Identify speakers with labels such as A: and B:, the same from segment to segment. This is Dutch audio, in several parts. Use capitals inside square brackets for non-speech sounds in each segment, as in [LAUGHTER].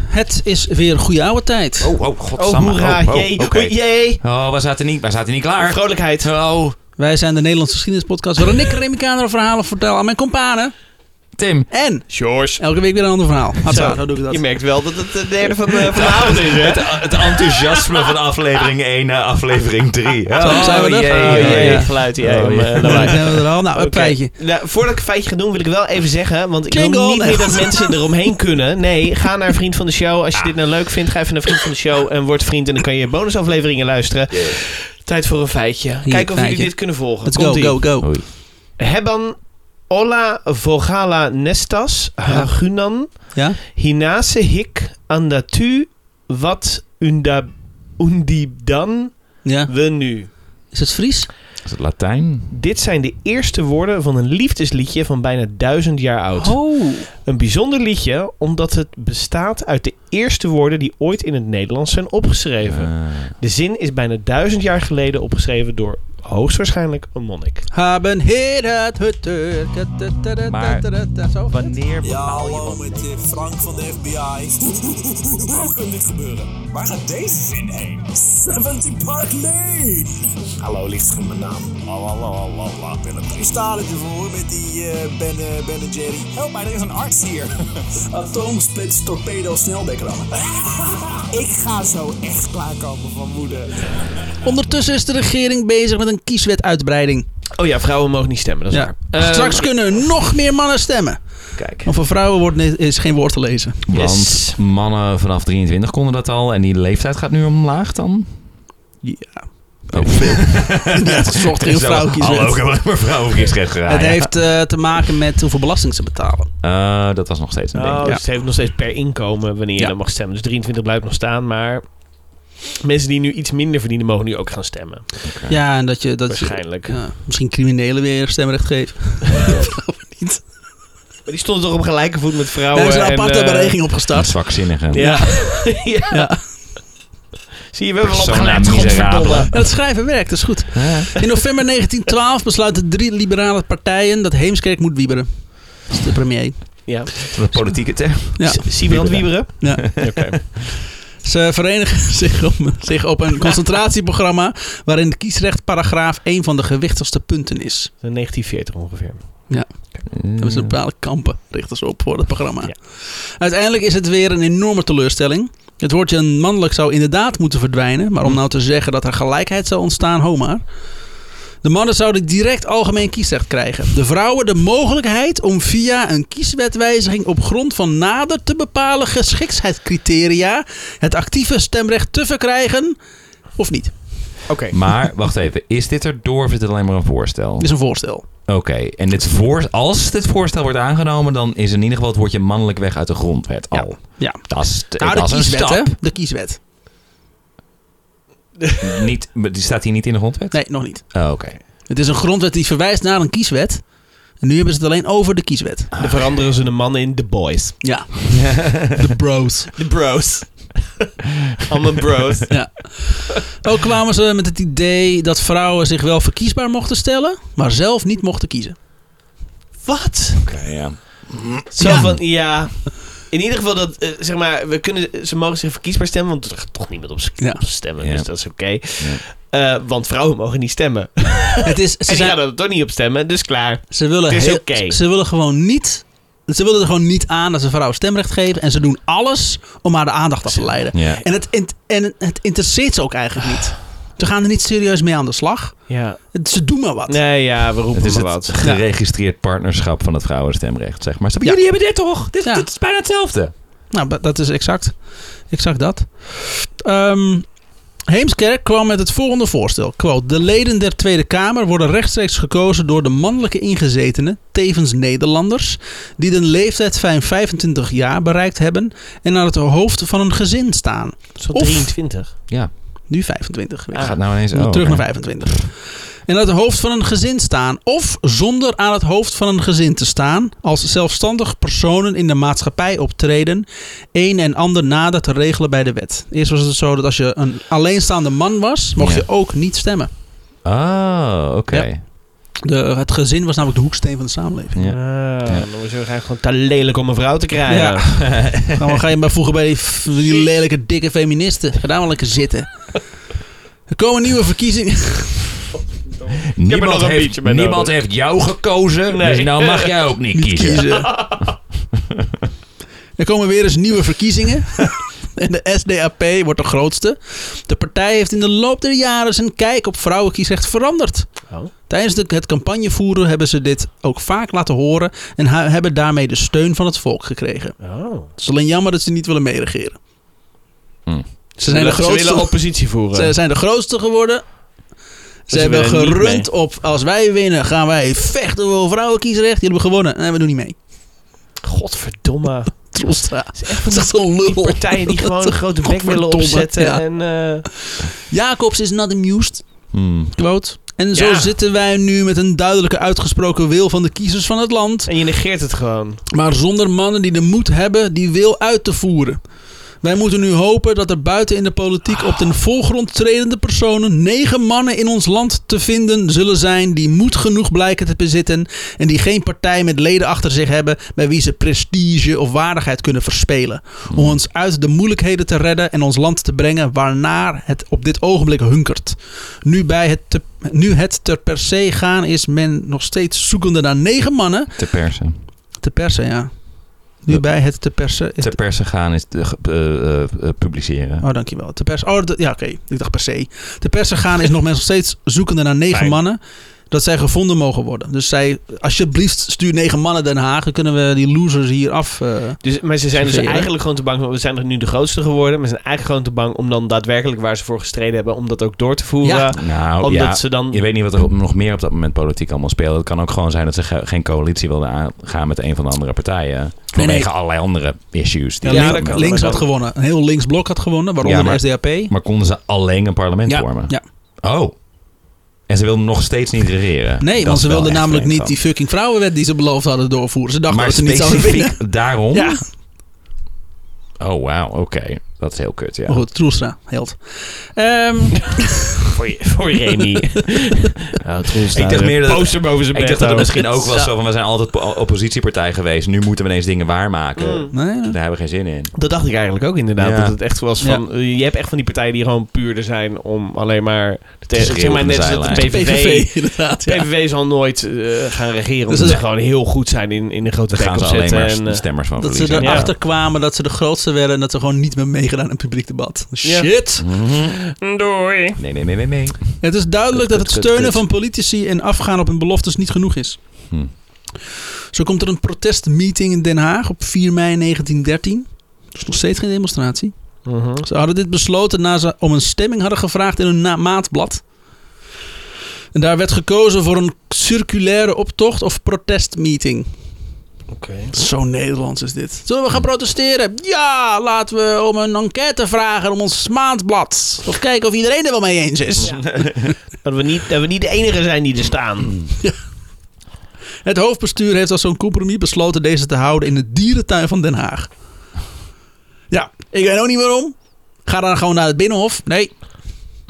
A: Het is weer goede oude tijd.
B: Oh, oh,
C: Oh,
B: godsamme.
C: hoera.
B: Oh, oh,
C: jee.
B: oké.
C: Jee.
B: Oh, we zaten niet, we zaten niet klaar.
C: Vrolijkheid.
B: Oh,
A: Wij zijn de Nederlandse geschiedenispodcast waarin ik Remicano verhalen vertel aan mijn kompanen.
B: Tim.
A: En
C: George.
A: elke week weer een ander verhaal. Hatsa, zo doe ik
C: Je
A: dat.
C: merkt wel dat het eh, de derde van de, van de avond is, hè?
B: Het enthousiasme van aflevering 1 naar aflevering 3.
A: Zo zijn we er.
C: Oh,
A: Ja,
C: jee,
A: ja.
C: geluid hier.
B: Oh,
C: eh,
B: ja.
C: laat
A: Dan
C: maar.
A: zijn we er al. Nou, [LAUGHS] een
C: Oké.
A: feitje.
C: Nou, voordat ik een feitje ga doen, wil ik wel even zeggen. Want ik wil
A: Jingle.
C: niet meer dat mensen eromheen kunnen. Nee, ga naar Vriend van de Show. Als je dit nou leuk vindt, ga even naar Vriend van de Show en word vriend. En dan kan je bonusafleveringen luisteren. Tijd voor een feitje. Kijk of jullie
A: feitje.
C: dit kunnen volgen.
A: Let's go,
C: Komt-ie.
A: go, go.
B: Oei.
C: Hebben Ola Vogala Nestas Hagunan
A: Ja?
C: Hinase Hik Andatu Wat unda, Undidan
A: Ja.
C: We Nu.
A: Is het Fries?
B: Is het Latijn?
C: Dit zijn de eerste woorden van een liefdesliedje van bijna duizend jaar oud.
A: Oh.
C: Een bijzonder liedje omdat het bestaat uit de eerste woorden die ooit in het Nederlands zijn opgeschreven. De zin is bijna duizend jaar geleden opgeschreven door hoogstwaarschijnlijk een monnik.
A: Haben heer het hutter.
B: Maar
A: Zo.
B: wanneer
D: Ja, hallo met eh, Frank van de FBI. [LAUGHS] Hoe kan dit gebeuren? Waar gaat deze zin heen? 70 Park Lane! Hallo, ligt geen mijn naam. Hallo, hallo, hallo, hallo, Willem. Ik sta er ervoor met die eh ben, eh, ben en Jerry. Help mij, er is een arts [LAUGHS] hier. Atomsplits, torpedo, snelbekrammen. [LAUGHS] Ik ga zo echt klaarkomen van moeder.
A: Ondertussen is de regering bezig met een kieswetuitbreiding.
C: Oh ja, vrouwen mogen niet stemmen, dat is
A: Ja.
C: waar. Eh,
A: Straks kunnen nog meer mannen stemmen.
C: Kijk.
A: Want voor vrouwen wordt ni- is geen woord te lezen.
C: Yes.
B: Want mannen vanaf 23 konden dat al. En die leeftijd gaat nu omlaag dan?
A: Ja.
B: [LAUGHS]
A: Oh, veel. [LAUGHS] ja, zocht geen
B: Zo,
A: vrouwkieswet.
B: Hallo, ik heb alleen [LAUGHS] maar vrouwenkiesrecht gedaan.
A: Het
B: ja.
A: heeft eh, te maken met hoeveel belasting ze betalen.
B: Eh, dat was nog steeds een ding.
C: Oh,
A: Ja.
C: dus het heeft nog steeds per inkomen wanneer je
A: Ja.
C: dan mag stemmen. Dus 23 blijft nog staan, maar mensen die nu iets minder verdienen mogen nu ook gaan stemmen.
A: Ja, en dat je... Dat je-
C: Waarschijnlijk.
A: ja, misschien criminelen weer stemrecht geeft.
C: Maar die stonden toch op gelijke voet met
A: Daar
C: vrouwen.
A: hebben ze een
C: en,
A: aparte
C: eh,
A: beweging opgestart.
B: Zwakzinnige.
C: Ja. [LAUGHS] ja.
A: Ja.
C: Zie je, we hebben wel
B: Persona
C: opgelet,
B: miserabele.
C: godverdomme.
A: En het schrijven werkt, dat is goed. In november 1912 besluiten drie liberale partijen dat Heemskerk moet wieberen. Dat is de premier.
C: Ja.
B: De politieke term.
A: Ja.
C: Sibrand Wieberen.
A: Ja.
C: [LAUGHS] Oké.
A: Ze verenigen [LAUGHS] zich op, zich op een concentratieprogramma waarin de kiesrechtparagraaf een van de gewichtigste punten is.
C: Zo'n 1940 ongeveer.
A: Dan hebben ze bepaalde kampen, richten ze op voor het programma.
C: Ja.
A: Uiteindelijk is het weer een enorme teleurstelling. Het woordje mannelijk zou inderdaad moeten verdwijnen,
B: Hm.
A: maar om nou te zeggen dat er gelijkheid zou ontstaan, ho maar. De mannen zouden direct algemeen kiesrecht krijgen. De vrouwen de mogelijkheid om via een kieswetwijziging op grond van nader te bepalen geschiktheidscriteria het actieve stemrecht te verkrijgen of niet.
C: Oké.
B: Maar, wacht even. Is dit erdoor of is dit alleen maar een voorstel?
A: Dat is een voorstel.
B: Oké, en dit voor, als dit voorstel wordt aangenomen, dan is in ieder geval het woordje mannelijk weg uit de grondwet al.
A: Ja.
B: Dat is,
A: Nou,
B: Eh, dat
A: de
B: is een
A: kieswet,
B: stap.
A: hè? De kieswet.
B: Niet, maar die staat hier niet in de grondwet?
A: Nee, nog niet.
B: Oh, Oké.
A: Het is een grondwet die verwijst naar een kieswet. En nu hebben ze het alleen over de kieswet.
C: Dan veranderen ze de man in The Boys.
A: Ja. De bros.
C: The
A: [LAUGHS]
C: Bros. Allemaal bros.
A: Ja. Ook kwamen ze met het idee dat vrouwen zich wel verkiesbaar mochten stellen, maar zelf niet mochten kiezen.
C: Wat?
B: Oké, ja.
C: Zo
A: Ja.
C: van, ja. In ieder geval dat, eh, zeg maar, we kunnen, ze mogen zich verkiesbaar stemmen, want er gaat toch niemand op ze
A: Ja.
C: op ze stemmen,
B: Ja.
C: dus dat is oké. Eh, want vrouwen mogen niet stemmen.
A: Het is, ze,
C: en die
A: zijn,
C: gaan er toch niet op stemmen, dus klaar.
A: ze, willen
C: het is
A: heel-
C: oké.
A: ze willen gewoon niet. Ze willen er gewoon niet aan dat ze vrouwen stemrecht geven. En ze doen alles om haar de aandacht af te leiden.
B: Ja.
A: En het, int- en het interesseert ze ook eigenlijk niet. Ze gaan er niet serieus mee aan de slag.
C: Ja.
A: Het- Ze doen maar wat.
C: Nee, ja, we roepen
B: Het is
C: maar
B: het
C: wat.
B: geregistreerd partnerschap van het vrouwenstemrecht, zeg maar. Snap je?
A: Ja.
B: Jullie hebben dit toch? Dit,
A: Ja.
B: dit is bijna hetzelfde.
A: Nou, ba- dat is exact, exact dat. Ehm, Heemskerk kwam met het volgende voorstel. Quote, de leden der Tweede Kamer worden rechtstreeks gekozen door de mannelijke ingezetenen, tevens Nederlanders, die de leeftijd van 25 jaar bereikt hebben en aan het hoofd van een gezin staan.
C: Zo'n
A: Of-
C: 23.
B: Ja,
A: Nu 25. weer.
B: het gaat nou ineens...
A: Dan
B: oh,
A: Ah. terug
B: oké.
A: naar 25. En aan het hoofd van een gezin staan. Of zonder aan het hoofd van een gezin te staan. Als zelfstandig personen in de maatschappij optreden. Een en ander nader te regelen bij de wet. Eerst was het zo dat als je een alleenstaande man was. mocht
B: Ja.
A: je ook niet stemmen.
B: Oh, oké.
A: Ja. De, het gezin was namelijk de hoeksteen van de samenleving.
B: Ja.
C: Ah, Dan was je eigenlijk gewoon te lelijk om een vrouw te krijgen.
A: Ja. Nou, dan ga je maar voegen bij die, f- die lelijke, dikke feministen. Ga daar maar lekker zitten. Er komen nieuwe verkiezingen.
C: er nog
B: Niemand,
C: een
B: heeft,
C: biertje bij
B: niemand
C: nodig.
B: heeft jou gekozen,
C: Nee.
B: dus nou mag jij ook niet kiezen.
A: [LAUGHS] Er komen weer eens nieuwe verkiezingen. En de SDAP wordt de grootste. De partij heeft in de loop der jaren zijn kijk op vrouwenkiesrecht veranderd.
C: Oh.
A: Tijdens de- het campagnevoeren hebben ze dit ook vaak laten horen. En ha- hebben daarmee de steun van het volk gekregen.
C: Oh.
A: Het is alleen jammer dat ze niet willen meeregeren.
B: Hmm.
A: Ze zijn de
C: Ze willen
A: grootste
C: oppositie voeren.
A: Ze zijn de grootste geworden. Ze
C: ze
A: hebben
C: willen niet
A: gerund op als wij winnen gaan wij vechten voor vrouwenkiesrecht. Jullie hebben gewonnen. Nee, we doen niet mee.
C: Godverdomme.
A: Troelstra.
C: Het is echt
A: Dat
C: van
A: is echt zo'n
C: die
A: lul.
C: partijen
A: [LAUGHS]
C: die gewoon een grote bek willen
A: Godverdomme,
C: opzetten.
A: ja.
C: En, eh,
A: Jacobs is not amused.
B: Hmm.
A: Quote. En zo
C: Ja.
A: zitten wij nu met een duidelijke uitgesproken wil van de kiezers van het land.
C: en je negeert het gewoon.
A: Maar zonder mannen die de moed hebben die wil uit te voeren. Wij moeten nu hopen dat er buiten in de politiek op den voorgrond tredende personen negen mannen in ons land te vinden zullen zijn die moed genoeg blijken te bezitten en die geen partij met leden achter zich hebben bij wie ze prestige of waardigheid kunnen verspelen. Om ons uit de moeilijkheden te redden en ons land te brengen waarnaar het op dit ogenblik hunkert. Nu, bij het, te- nu het ter per se gaan is men nog steeds zoekende naar negen mannen
B: Te persen.
A: te persen, ja. Nu
B: Ja.
A: bij het te persen. Is
B: Te persen gaan is te, eh, eh, eh, publiceren.
A: Oh, dankjewel. Te persen. Oh, dat- ja, oké. Ik dacht per se. Te persen gaan is nog [LAUGHS] men nog steeds zoekende naar negen
C: Fijn.
A: mannen. Dat zij gevonden mogen worden. Dus zij, alsjeblieft, stuur negen mannen Den Haag. Dan kunnen we die losers hier af. eh.
C: Dus, maar ze zijn dus
A: Sorry, hè?
C: eigenlijk gewoon te bang. want We zijn er nu de grootste geworden. Maar ze zijn eigenlijk gewoon te bang om dan daadwerkelijk waar ze voor gestreden hebben. om dat ook door te voeren.
A: Ja.
B: Nou,
C: Omdat
B: ja,
C: ze dan.
B: Je weet niet wat er op- nog meer op dat moment politiek allemaal speelt. Het kan ook gewoon zijn dat ze ge- geen coalitie wilden aangaan met een van de andere partijen. Vanwege
A: nee.
B: allerlei andere issues. Die
A: Ja,
B: er
C: link-
B: op dat
A: links,
B: moment
A: links
B: waren.
A: had gewonnen. Een heel links blok had gewonnen, waaronder
B: Ja, maar-
A: de SDAP.
B: Maar konden ze alleen een parlement
A: Ja,
B: vormen?
A: ja.
B: Oh. En ze wilden nog steeds niet regeren.
A: Nee,
B: Dat
A: want
B: is
A: ze
B: wel
A: wilden
B: echt
A: namelijk
B: vreemd
A: niet die fucking vrouwenwet die ze beloofd hadden doorvoeren. Ze
B: dan.
A: dachten
B: Maar
A: dat ze niet zouden winnen.
B: specifiek daarom?
A: Ja.
B: Oh, wauw. Oké. Dat is heel kut, ja.
A: Maar goed, Troelstra, held.
B: [LAUGHS]
A: Ehm,
C: [LAUGHS] Voor, je- voor Remy.
B: Ik dacht meer dat het-
C: Poster boven zijn
B: Ik dacht
C: bed
B: dat het
C: ook.
B: misschien ook was
A: Ja.
B: zo van... we zijn altijd po- oppositiepartij geweest. Nu moeten we ineens dingen waarmaken.
C: Mm.
A: nee,
B: Daar hebben we geen zin in.
C: Dat dacht ik eigenlijk ook inderdaad.
B: Ja.
C: Dat het echt was van. eh, Je hebt echt van die partijen die gewoon puurder zijn om alleen maar. de Tegen,
B: Schreeuwen
C: zeg maar
B: op de
C: net als dat de
B: zijlijn.
C: PVV.
A: PVV, inderdaad. ja.
C: PVV zal nooit eh, gaan regeren.
A: Dus
C: Omdat
A: dat-
C: ze gewoon heel goed zijn in, in de grote
B: Dan
C: bek
B: gaan ze alleen
C: opzetten.
B: maar
C: en, eh,
B: stemmers van
A: Dat ze
B: verliezen.
C: Ja.
A: erachter kwamen dat ze de grootste werden en dat ze gewoon niet meer meegedaan aan het publiek debat.
C: Ja.
A: Shit!
B: Mhm.
C: Doei.
B: Nee, nee, nee, nee, nee.
A: Het is duidelijk dat
B: Kut,
A: het
B: kut,
A: steunen
B: kut.
A: van politici en afgaan op hun beloftes niet genoeg is.
B: Hm.
A: Zo komt er een protestmeeting in Den Haag op 4 mei 1913. Dat is nog steeds geen demonstratie.
C: Mhm.
A: Ze hadden dit besloten na ze om een stemming hadden gevraagd in hun na- maatblad. En daar werd gekozen voor een circulaire optocht of protestmeeting. Zo Nederlands is dit. Zullen we gaan protesteren? Ja, laten we om een enquête vragen om ons maandblad. Of kijken of iedereen er wel mee eens is.
C: Dat, we niet, dat we niet de enige zijn die er staan.
A: [LAUGHS] Het hoofdbestuur heeft als zo'n compromis besloten deze te houden in de dierentuin van Den Haag. Ja, ik weet ook niet waarom. Ga dan gewoon naar het Binnenhof. Nee.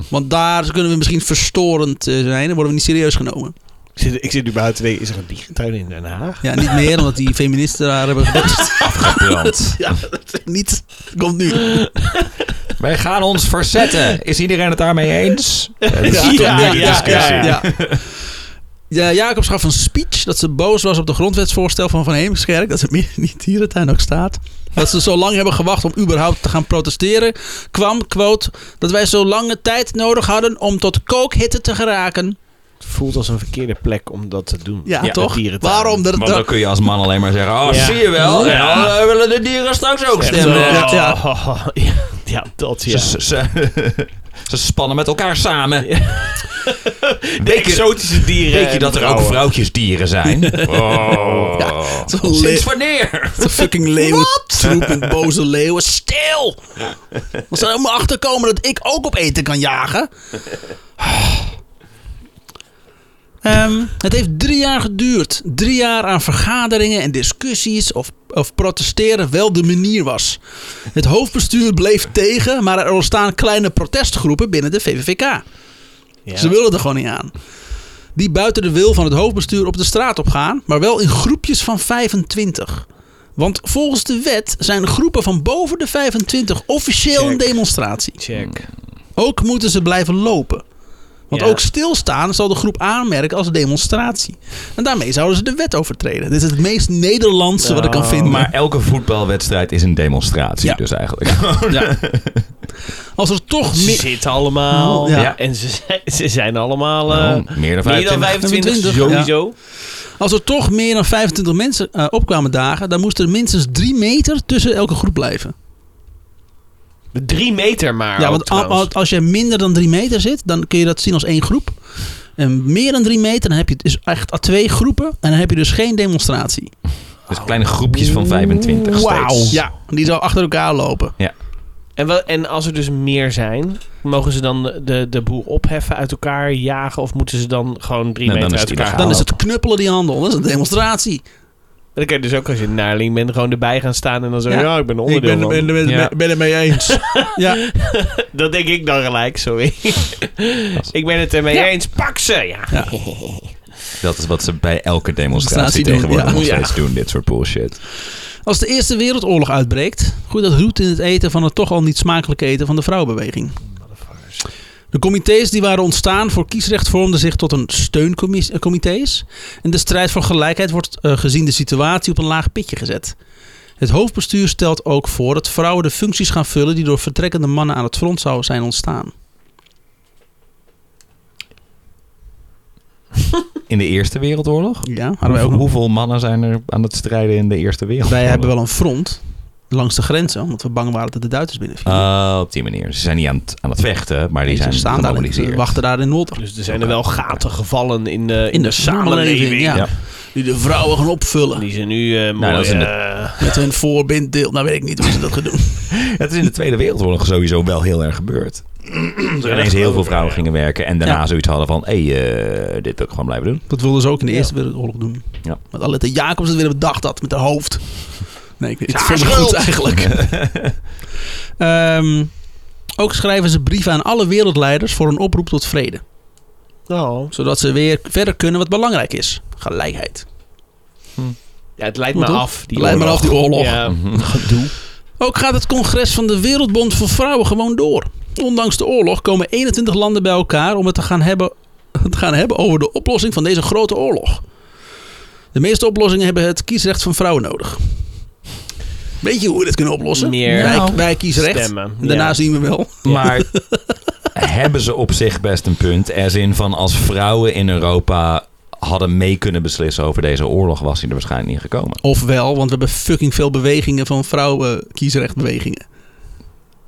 A: Want daar kunnen we misschien verstorend eh, zijn. Dan worden we niet serieus genomen.
C: Ik zit, ik zit nu buiten te denken, is er een dierentuin in Den Haag?
A: Ja, niet meer, omdat die feministen daar [LAUGHS] hebben gebest.
B: Brand.
A: [LAUGHS] Ja, dat niet. Komt nu.
B: Wij gaan ons verzetten. Is iedereen het daarmee eens? Ja, dat is
A: Ja,
B: toch
A: ja,
B: niet de
A: ja,
B: discussie.
A: Ja. Ja, Jacobs gaf een speech dat ze boos was op de grondwetsvoorstel van Van Heemskerk. Dat ze meer in die dierentuin ook staat. Dat ze zo lang hebben gewacht om überhaupt te gaan protesteren. Kwam, quote, dat wij zo lange tijd nodig hadden om tot kookhitte te geraken.
C: Het voelt als een verkeerde plek om dat te doen.
A: Ja,
B: Ja,
A: toch?
C: een dierentuin.
A: Waarom? Dat,
B: Want dan kun je als man alleen maar zeggen... Oh,
C: Ja.
B: zie je wel.
C: Ja.
B: Ja, dan willen de dieren straks ook
C: Echt,
B: stemmen.
A: Ja,
C: ja,
A: ja.
C: ja. Oh, [LAUGHS] ja, dat ja.
B: Ze, [LAUGHS] ze- ze spannen met elkaar samen. [LAUGHS]
C: De exotische dieren.
B: Weet je
C: en
B: dat er ook
C: vrouwen.
B: vrouwtjesdieren
C: [LAUGHS]
B: zijn? Oh.
A: is wel
B: Sinds
A: leuk.
B: wanneer?
A: de fucking leeuwen. Troep en boze leeuwen. Stil! Als ze er helemaal achter komen dat ik ook op eten kan jagen. Ehm, het heeft drie jaar geduurd. Drie jaar aan vergaderingen en discussies of, of protesteren wel de manier was. Het hoofdbestuur bleef tegen, maar er ontstaan kleine protestgroepen binnen de VVVK.
C: Ja.
A: Ze wilden er gewoon niet aan. die buiten de wil van het hoofdbestuur op de straat op gaan, maar wel in groepjes van 25. Want volgens de wet zijn groepen van boven de 25 officieel een
C: Check.
A: demonstratie.
C: Check.
A: Ook moeten ze blijven lopen. Want
C: Ja.
A: ook stilstaan zal de groep aanmerken als demonstratie. En daarmee zouden ze de wet overtreden. Dit is het meest Nederlandse wat ik kan
C: Oh.
A: vinden.
B: Maar elke voetbalwedstrijd is een demonstratie,
A: Ja.
B: dus eigenlijk.
C: [LAUGHS]
A: Ja. Als er toch
C: Ze
A: meer...
C: zitten allemaal.
A: Mm. Ja.
C: Ja. En ze, zijn- ze zijn allemaal... eh,
B: Nou, meer dan
C: meer dan
B: 25.
C: 25,
A: 25,
C: sowieso.
A: Als er toch meer dan 25 mensen eh, opkwamen dagen, dan moest er minstens 3 meter tussen elke groep blijven.
C: Drie meter maar.
A: ja,
C: ook
A: want a-
C: trouwens.
A: a- als je minder dan 3 meter zit, dan kun je dat zien als één groep. En meer dan 3 meter, dan heb je het is echt a- twee groepen. En dan heb je dus geen demonstratie.
B: Dus kleine groepjes van 25 steeds.
A: Ja, die zou achter elkaar lopen.
C: En, wel, en als er dus meer zijn, mogen ze dan de- de, de boel opheffen, uit elkaar jagen? Of moeten ze dan gewoon drie
B: Nee, dan
C: meter
B: is
C: uit
B: het
C: elkaar
B: illegaal.
A: Dan
C: halen?
A: is het knuppelen die handel. Dat is een demonstratie.
C: Dan kan je dus ook als je een naarling bent, gewoon erbij gaan staan en dan zo, ja,
A: Ja.
C: ik ben onderdeel van.
A: ben,
B: Ja.
A: het mee eens. [LAUGHS] ja.
C: [LAUGHS] Dat denk ik dan gelijk, sorry. ik ben het ermee
A: Ja.
C: eens, pak ze! Ja.
A: Ja. [LAUGHS]
B: Dat is wat ze bij elke
A: Demonstratie
B: demonstratie
A: doen,
B: tegenwoordig
A: ja.
B: nog
C: Ja.
B: steeds doen, dit soort bullshit.
A: Als de Eerste Wereldoorlog uitbreekt, groeit dat roet in het eten van het toch al niet smakelijke eten van de vrouwenbeweging. De comité's die waren ontstaan voor kiesrecht vormden zich tot een steuncomité's. En de strijd voor gelijkheid wordt eh, gezien de situatie op een laag pitje gezet. Het hoofdbestuur stelt ook voor dat vrouwen de functies gaan vullen die door vertrekkende mannen aan het front zouden zijn ontstaan.
B: In de Eerste Wereldoorlog?
A: Ja, hadden wij ook
B: Hoe-
A: nog.
B: hoeveel mannen zijn er aan het strijden in de Eerste Wereldoorlog?
A: Wij hebben wel een front langs de grenzen, omdat we bang waren dat de Duitsers binnenvielen.
B: Ah, op die manier. Ze zijn niet aan het, aan het vechten, maar die
A: Ze
B: zijn
A: staan daar en
B: gemobiliseerd.
A: eh, wachten daar in Notter.
C: Dus er zijn er wel gaten gevallen in de, in de
A: samenleving,
C: samenleving.
A: ja.
B: Ja.
A: Die de vrouwen gaan opvullen
C: Die zijn nu eh mooi...
B: dat is een-
C: eh,
A: met hun voorbinddeel. Nou weet ik niet hoe ze dat gaan doen.
B: Het is in de Tweede Wereldoorlog sowieso wel heel erg gebeurd. Dat er ineens heel veel vrouwen gingen werken en daarna
A: Ja.
B: zoiets hadden van... hé, hey, eh, dit wil ik gewoon blijven doen.
A: Dat wilden ze ook in de Eerste Wereldoorlog doen.
B: Ja.
A: Met Alette Jacobs het weer bedacht had met haar hoofd. Nee, ik, ik
C: Haar
A: vond het goed
C: schuld!
A: eigenlijk. Ehm, ook schrijven ze brieven aan alle wereldleiders voor een oproep tot vrede.
C: nou,
A: Zodat ze weer verder kunnen wat belangrijk is. Gelijkheid.
C: ja, het leidt
A: Goed,
C: me
A: toch?
C: af. Die
A: Leid maar af die oorlog.
C: Ja,
B: Mhm. Gedoe.
A: Ook gaat het congres van de Wereldbond voor Vrouwen gewoon door. Ondanks de oorlog komen 21 landen bij elkaar om het te gaan hebben, [LAUGHS] te gaan hebben over de oplossing van deze grote oorlog. De meeste oplossingen hebben het kiesrecht van vrouwen nodig. Weet je hoe we dit kunnen oplossen?
C: Meer
B: Nou.
A: wij, wij kiesrecht.
C: stemmen,
A: En daarna
C: ja.
A: zien we wel.
B: Maar [LAUGHS] hebben ze op zich best een punt? Als in van als vrouwen in Europa hadden mee kunnen beslissen over deze oorlog... was hij er waarschijnlijk niet gekomen.
A: Of wel, want we hebben fucking veel bewegingen van vrouwen kiesrechtbewegingen.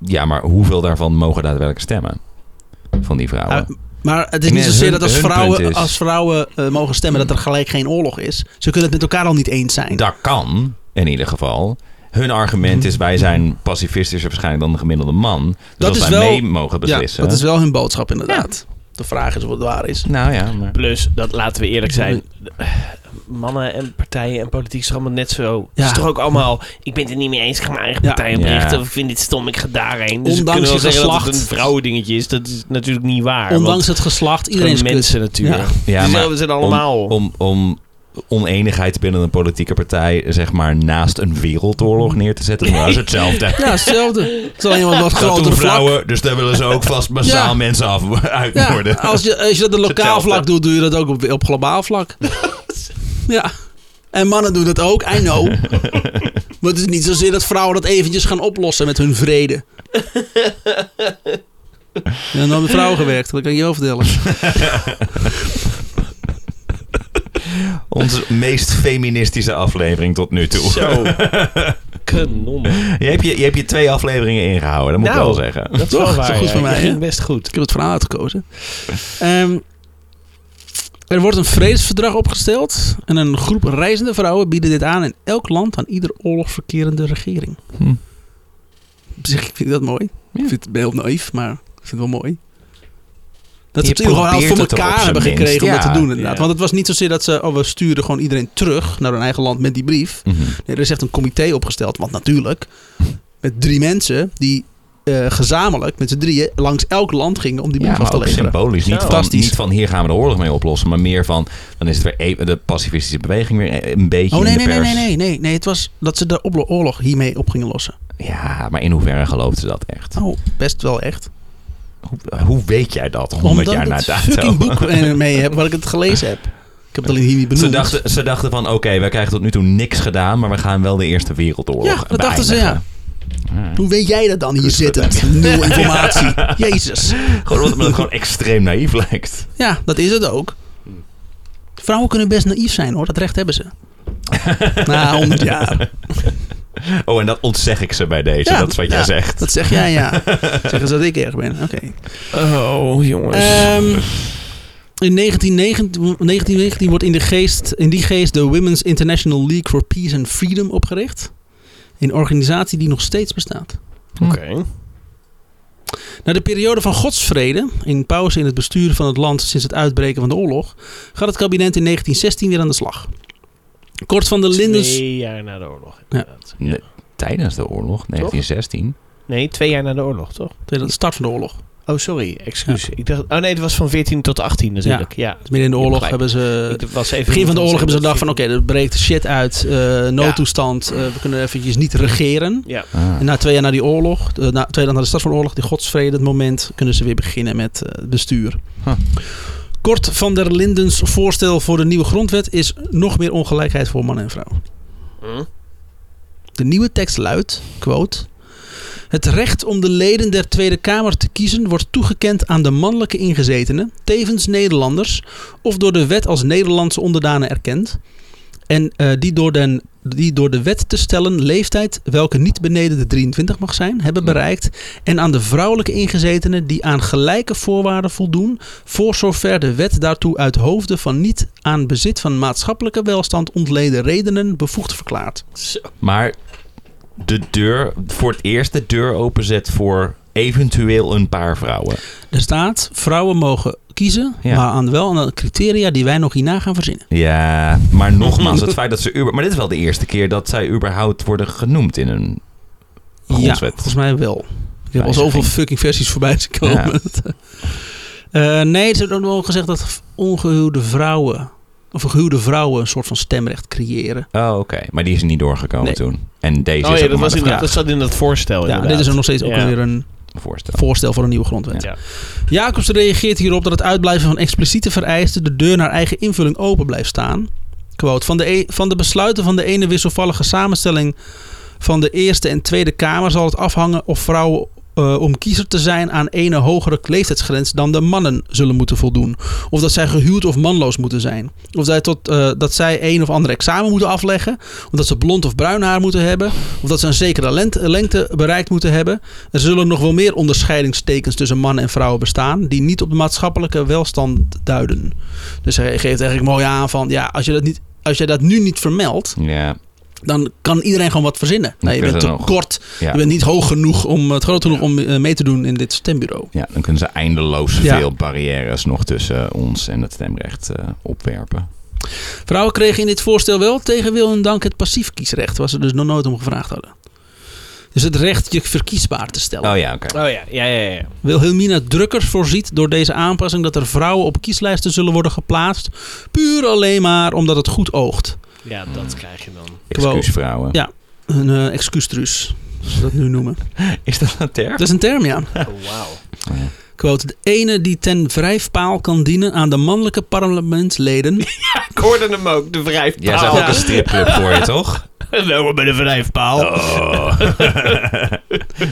B: Ja, maar hoeveel daarvan mogen daadwerkelijk stemmen? Van die vrouwen.
A: Ah, maar het is
B: Ik
A: niet
B: meen,
A: zozeer
B: hun-
A: dat als
B: hun punt
A: vrouwen,
B: is-
A: als vrouwen eh, mogen stemmen dat er gelijk geen oorlog is. Ze kunnen het met elkaar al niet eens zijn.
B: Dat kan, in ieder geval. Hun
A: Mhm.
B: argument is, wij zijn pacifistischer waarschijnlijk dan de gemiddelde man. Dus
A: Dat
B: als
A: is
B: wij
A: wel-
B: mee mogen beslissen...
A: Ja, dat is wel hun boodschap inderdaad. De vraag is of het waar is.
B: Nou ja, maar...
C: Plus, dat laten we eerlijk zijn. Mannen en partijen en politiek is toch allemaal net zo.
A: Ja.
C: Het is toch ook allemaal. Ik ben het er niet mee eens. Ik ga mijn eigen
A: Ja.
C: partij
B: Ja.
C: oprichten. Of ik vind dit stom. Ik ga daarheen.
A: Ondanks
C: Dus we kunnen wel
A: je
C: zeggen dat het
A: geslacht.
C: een vrouwendingetje is. Dat is natuurlijk niet waar.
A: Ondanks het geslacht,
C: want
A: iedereen is
C: gewoon
A: kut.
C: mensen natuurlijk.
B: Ja,
C: Dus
B: maar
C: we zijn allemaal.
B: Om, om oneenigheid binnen een politieke partij, zeg maar, naast een wereldoorlog neer te zetten. Nou, dat
A: [LAUGHS]
B: is hetzelfde.
A: Ja, hetzelfde. Het is alleen maar wat
B: Dat doen
A: groter vlak.
B: vrouwen, dus daar willen ze ook vast massaal
A: Ja.
B: mensen af, uit
A: Ja,
B: worden.
A: als, je, als je dat op lokaal
C: Hetzelfde.
A: vlak doet, doe je dat ook op, op globaal [LAUGHS] vlak. Ja. En mannen doen dat ook, I [LAUGHS] know. maar het is niet zozeer dat vrouwen dat eventjes gaan oplossen met hun vrede. [LAUGHS] Ja, dan met vrouwen gewerkt, dat kan ik je overtellen.
B: Onze meest feministische aflevering tot nu toe.
C: Zo. Kanon.
B: [LAUGHS] Je hebt je, je, hebt je twee afleveringen ingehouden, dat moet
C: Nou.
B: ik wel zeggen.
C: Dat is
A: Toch? Dat
C: wel
A: Oh, is
C: waar.
A: goed
C: ja.
A: van
C: Je
A: mij,
C: ging
A: hè?
C: best goed.
A: Ik heb het verhaal uitgekozen. Ehm, er wordt een vredesverdrag opgesteld. En een groep reizende vrouwen bieden dit aan in elk land aan ieder oorlogverkerende regering.
B: Hm.
A: Op zich, ik vind dat mooi. Ik vind het heel naïef, maar ik vind het wel mooi. Dat
B: Je
A: ze het in ieder geval
B: probeert
A: voor
B: het er op
A: elkaar
B: zijn
A: hebben
B: minst,
A: gekregen om dat
B: ja.
A: te doen inderdaad.
C: Ja.
A: Want het was niet zozeer dat ze, oh we sturen gewoon iedereen terug naar hun eigen land met die brief.
B: Mhm.
A: Nee, er is echt een comité opgesteld, want natuurlijk, met drie mensen die eh, gezamenlijk met z'n drieën langs elk land gingen om die
B: Ja,
A: boel vast
B: maar
A: te
B: ook
A: leveren.
B: symbolisch. Niet,
C: Ja.
B: van,
A: Fantastisch.
B: niet van hier gaan we de oorlog mee oplossen, maar meer van dan is het weer even- de pacifistische beweging weer e- een beetje
A: Oh nee,
B: in de
A: nee, nee,
B: pers.
A: nee, nee, nee, nee. Het was dat ze de oplo- oorlog hiermee op gingen lossen.
B: Ja, maar in hoeverre gelooft ze dat echt?
A: Oh, best wel echt.
B: Hoe, hoe weet jij dat 100
A: Omdat
B: jaar na
A: ik dat
B: dato?
A: fucking boek eh, mee heb waar ik het gelezen heb. Ik heb het alleen hier niet benoemd.
B: Ze dachten, ze dachten van, oké, wij krijgen tot nu toe niks gedaan, maar we gaan wel de Eerste Wereldoorlog
A: ja, dat dachten ze, ja.
B: beëindigen.
A: Hoe weet jij dat dan hier
B: Kus met
A: zittend? Nul informatie. Jezus.
B: Gewoon omdat het me gewoon extreem naïef lijkt.
A: Ja, dat is het ook. Vrouwen kunnen best naïef zijn hoor, dat recht hebben
B: [LAUGHS]
A: ze. Nou, Na 100 jaar.
B: Oh, en dat ontzeg ik ze bij deze,
A: Ja,
B: dat is wat jij
A: ja,
B: zegt.
A: Dat zeg jij
C: [LAUGHS]
A: ja. Zeggen ze dat ik erg ben. Oké.
C: Oh, jongens.
A: Ehm, in 1919, 1919 wordt in, de geest, in die geest de Women's International League for Peace and Freedom opgericht. Een organisatie die nog steeds bestaat.
C: Oké.
A: Na de periode van godsvrede, in pauze in het bestuur van het land sinds het uitbreken van de oorlog, gaat het kabinet in 1916 weer aan de slag. Kort van de Lindens.
C: Twee jaar na de oorlog, inderdaad.
B: Nee, tijdens de oorlog, 1916.
C: Nee, twee jaar na de oorlog, toch?
A: De start van de oorlog.
C: Oh, sorry. Excuus. Ik dacht, oh nee, het was van 14 tot 18 natuurlijk. Ja.
A: Dus midden in de
C: Je hebt
A: oorlog
C: gelijk.
A: hebben ze.
C: Ik was even
A: Eh, Begin van de oorlog hebben ze gedacht van oké, er breekt shit uit, eh, noodtoestand, eh, we kunnen eventjes niet regeren.
C: Ja.
B: Ah.
A: En na twee jaar na die oorlog, eh, na twee jaar na de start van de oorlog, die godsvrede, het moment, kunnen ze weer beginnen met eh, het bestuur.
B: Huh.
A: Kort van der Lindens voorstel voor de nieuwe grondwet is nog meer ongelijkheid voor man en vrouw.
C: Hm?
A: De nieuwe tekst luidt, quote... Het recht om de leden der Tweede Kamer te kiezen wordt toegekend aan de mannelijke ingezetenen, tevens Nederlanders, of door de wet als Nederlandse onderdanen erkend, en eh, die, door den, die door de wet te stellen leeftijd, welke niet beneden de 23 mag zijn, hebben bereikt, en aan de vrouwelijke ingezetenen die aan gelijke voorwaarden voldoen, voor zover de wet daartoe uit hoofden van niet aan bezit van maatschappelijke welstand ontleden redenen bevoegd verklaart.
C: Zo.
B: Maar de deur, voor het eerst de deur openzet voor eventueel een paar vrouwen.
A: Er staat, vrouwen mogen kiezen,
B: Ja.
A: maar aan wel aan de criteria die wij nog hierna gaan verzinnen.
B: Ja, maar nogmaals, het feit dat ze... Uber, maar dit is wel de eerste keer dat zij überhaupt worden genoemd in een
A: Ja,
B: grondwet.
A: volgens mij wel. Ik heb al
B: Wijziging.
A: zoveel fucking versies voorbij zien komen. [LAUGHS] Eh, nee, ze hebben ook wel gezegd dat ongehuwde vrouwen, of gehuwde vrouwen een soort van stemrecht creëren.
B: Oh, oké. Maar die is niet doorgekomen
A: Nee.
B: toen. En deze
C: Oh
B: is
C: ja,
B: ook nog
C: dat,
B: maar
C: was
B: de
C: in
B: vraag
C: dat zat in dat voorstel
A: Ja,
C: Oh, inderdaad.
A: dit is er nog steeds ook
C: Ja.
A: weer een
B: voorstel.
A: voorstel voor een nieuwe grondwet.
C: Ja.
A: Jacobs reageert hierop dat het uitblijven van expliciete vereisten de deur naar eigen invulling open blijft staan. Quote, van, de e- van de besluiten van de ene wisselvallige samenstelling van de Eerste en Tweede Kamer zal het afhangen of vrouwen eh, om kiezer te zijn aan ene hogere leeftijdsgrens dan de mannen zullen moeten voldoen. Of dat zij gehuwd of manloos moeten zijn. Of zij tot, eh, dat zij een of ander examen moeten afleggen. Of dat ze blond of bruin haar moeten hebben. Of dat ze een zekere lent- lengte bereikt moeten hebben. Er zullen nog wel meer onderscheidingstekens tussen mannen en vrouwen bestaan. die niet op de maatschappelijke welstand duiden. Dus hij geeft eigenlijk mooi aan van. ja, als je dat, niet, als je dat nu niet vermeldt.
B: Ja,
A: dan kan iedereen gewoon wat verzinnen.
B: Dan
A: Nee, je
B: kunnen
A: bent
B: ze
A: te
B: nog-
A: kort.
B: ja.
A: je bent niet hoog genoeg. om het groot genoeg om eh, mee te doen in dit stembureau.
B: ja, dan kunnen ze eindeloos
A: Ja.
B: veel barrières nog tussen eh, ons en het stemrecht eh, opwerpen.
A: Vrouwen kregen in dit voorstel wel tegen wil en dank het passief kiesrecht. waar ze dus nog nooit om gevraagd hadden. Dus het recht je verkiesbaar te stellen.
B: Oh ja, oké.
C: Oh ja, ja, ja, ja.
A: Wilhelmina Drukkers voorziet door deze aanpassing dat er vrouwen op kieslijsten zullen worden geplaatst. Puur alleen maar omdat het goed oogt.
C: Ja, dat krijg je dan.
B: Excuus vrouwen.
A: Ja. Een eh excuustruus, zoals ze dat nu noemen.
B: Is dat een term?
A: Dat is een term, ja.
C: Oh, wauw.
A: Quote, de ene die ten wrijfpaal kan dienen aan de mannelijke parlementsleden.
C: Ik hoorde hem ook, de wrijfpaal.
B: Jij zag ook [LAUGHS] een stripclub voor je, [LAUGHS] toch?
C: Welkom bij de wrijfpaal.
B: Oh. [LAUGHS]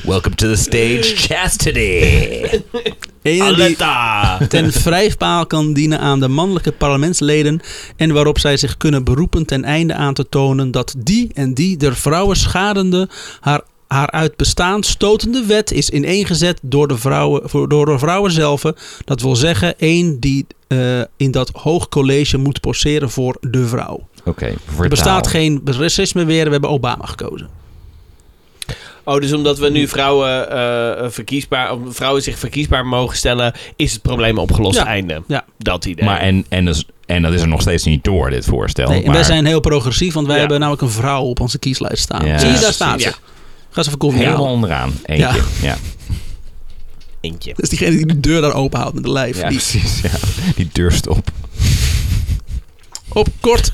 B: Welcome to the stage, Chastity.
A: Ene die
C: Aletta.
A: ten wrijfpaal kan dienen aan de mannelijke parlementsleden. En waarop zij zich kunnen beroepen ten einde aan te tonen dat die en die der vrouwen schadende haar haar uit bestaan stotende wet is ineengezet door de vrouwen, voor- door de vrouwen zelf. Dat wil zeggen, één die eh, in dat hoog college moet poseren voor de vrouw.
B: Oké,
A: Er
B: vertaal.
A: bestaat geen racisme weer, we hebben Obama gekozen.
C: Oh, dus omdat we nu vrouwen, eh, verkiesbaar, vrouwen zich verkiesbaar mogen stellen, is het probleem opgelost.
A: Ja.
C: Einde.
A: Ja.
C: Dat idee.
B: Maar en, en, dus, en dat is er nog steeds niet door, dit voorstel.
A: Nee, en
B: maar
A: wij zijn heel progressief, want wij
C: Ja.
A: hebben namelijk een vrouw op onze kieslijst staan.
B: Ja.
A: Zie je,
B: Ja,
A: daar staat ze.
C: precies.
A: Ga ze even koffie
B: helemaal
A: halen.
B: onderaan. Eentje. Ja.
C: Eentje.
A: Dat is diegene die de deur daar open houdt met de lijf.
B: [LAUGHS] Ja,
A: Die
B: precies. Ja. Die durst op.
A: op kort,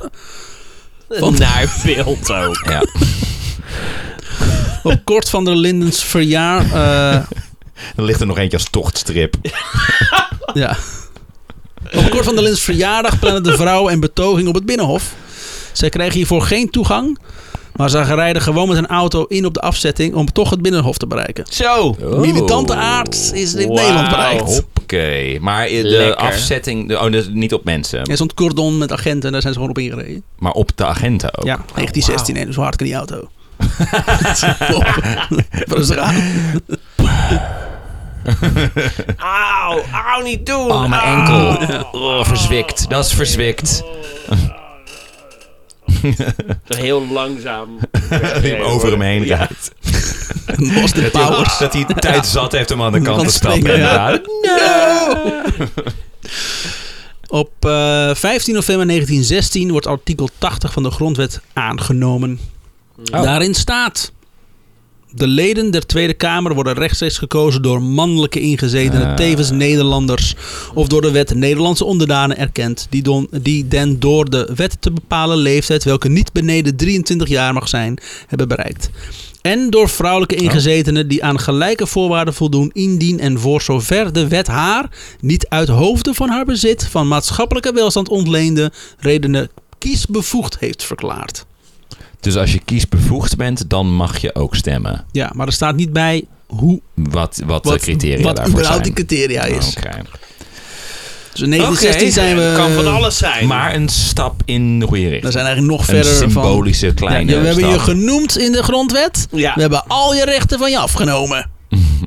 A: Want-
C: Naar beeld ook.
B: Ja.
A: op kort van der Lindens verjaar... eh,
B: Dan ligt er nog eentje als tochtstrip.
A: Ja. Op kort van de Lins verjaardag plannen de vrouw en betoging op het Binnenhof. Zij kregen hiervoor geen toegang, maar ze rijden gewoon met een auto in op de afzetting om toch het Binnenhof te bereiken.
C: Zo.
B: Oh.
A: Militante aard is in
C: Wauw.
A: Nederland bereikt.
B: Hoppakee. Maar eh, de
C: Lekker.
B: afzetting... Oh, dus niet op mensen.
A: Er stond cordon met agenten en daar zijn ze gewoon op ingereden.
B: Maar op de agenten ook.
A: Ja, 1916, hè, dus hoe hard kan die
B: [LAUGHS]
A: auto? [LAUGHS] Rustig aan.
C: Auw, auw, niet doen.
B: Oh, mijn
C: Auw.
B: enkel. Oh, verzwikt. Dat is verzwikt.
C: Heel
B: [LAUGHS]
C: langzaam.
B: Die hem over hem heen rijdt.
A: Boston
B: Dat hij-
A: Powers.
B: Dat hij tijd zat heeft om aan de kant
A: Kan
B: te stappen.
A: springen, ja.
B: inderdaad.
A: Op eh, 15 november 1916 wordt artikel 80 van de grondwet aangenomen.
B: Oh.
A: Daarin staat... De leden der Tweede Kamer worden rechtstreeks gekozen door mannelijke ingezetenen,
B: Ah.
A: tevens Nederlanders, of door de wet Nederlandse onderdanen erkend, die, don, die den door de wet te bepalen leeftijd, welke niet beneden 23 jaar mag zijn, hebben bereikt. En door vrouwelijke
B: Oh.
A: ingezetenen die aan gelijke voorwaarden voldoen, indien en voor zover de wet haar niet uit hoofde van haar bezit van maatschappelijke welstand ontleende redenen kiesbevoegd heeft verklaard.
B: [LAUGHS] Dus als je kiesbevoegd bent, dan mag je ook stemmen.
A: Ja, maar er staat niet bij hoe,
B: Wat, wat, de
A: wat,
B: criteria
A: wat
B: daarvoor zijn. Oh,
A: überhaupt die criteria is.
B: Oké.
A: Dus in 1916 zijn we...
C: Kan van alles zijn.
B: Maar een stap in de goede richting.
A: We zijn eigenlijk nog
B: een
A: verder van...
B: symbolische
A: Ja,
B: kleine
A: we hebben
B: stap.
A: je genoemd in de grondwet.
C: Ja.
A: We hebben al je rechten van je
B: [LAUGHS]
A: afgenomen.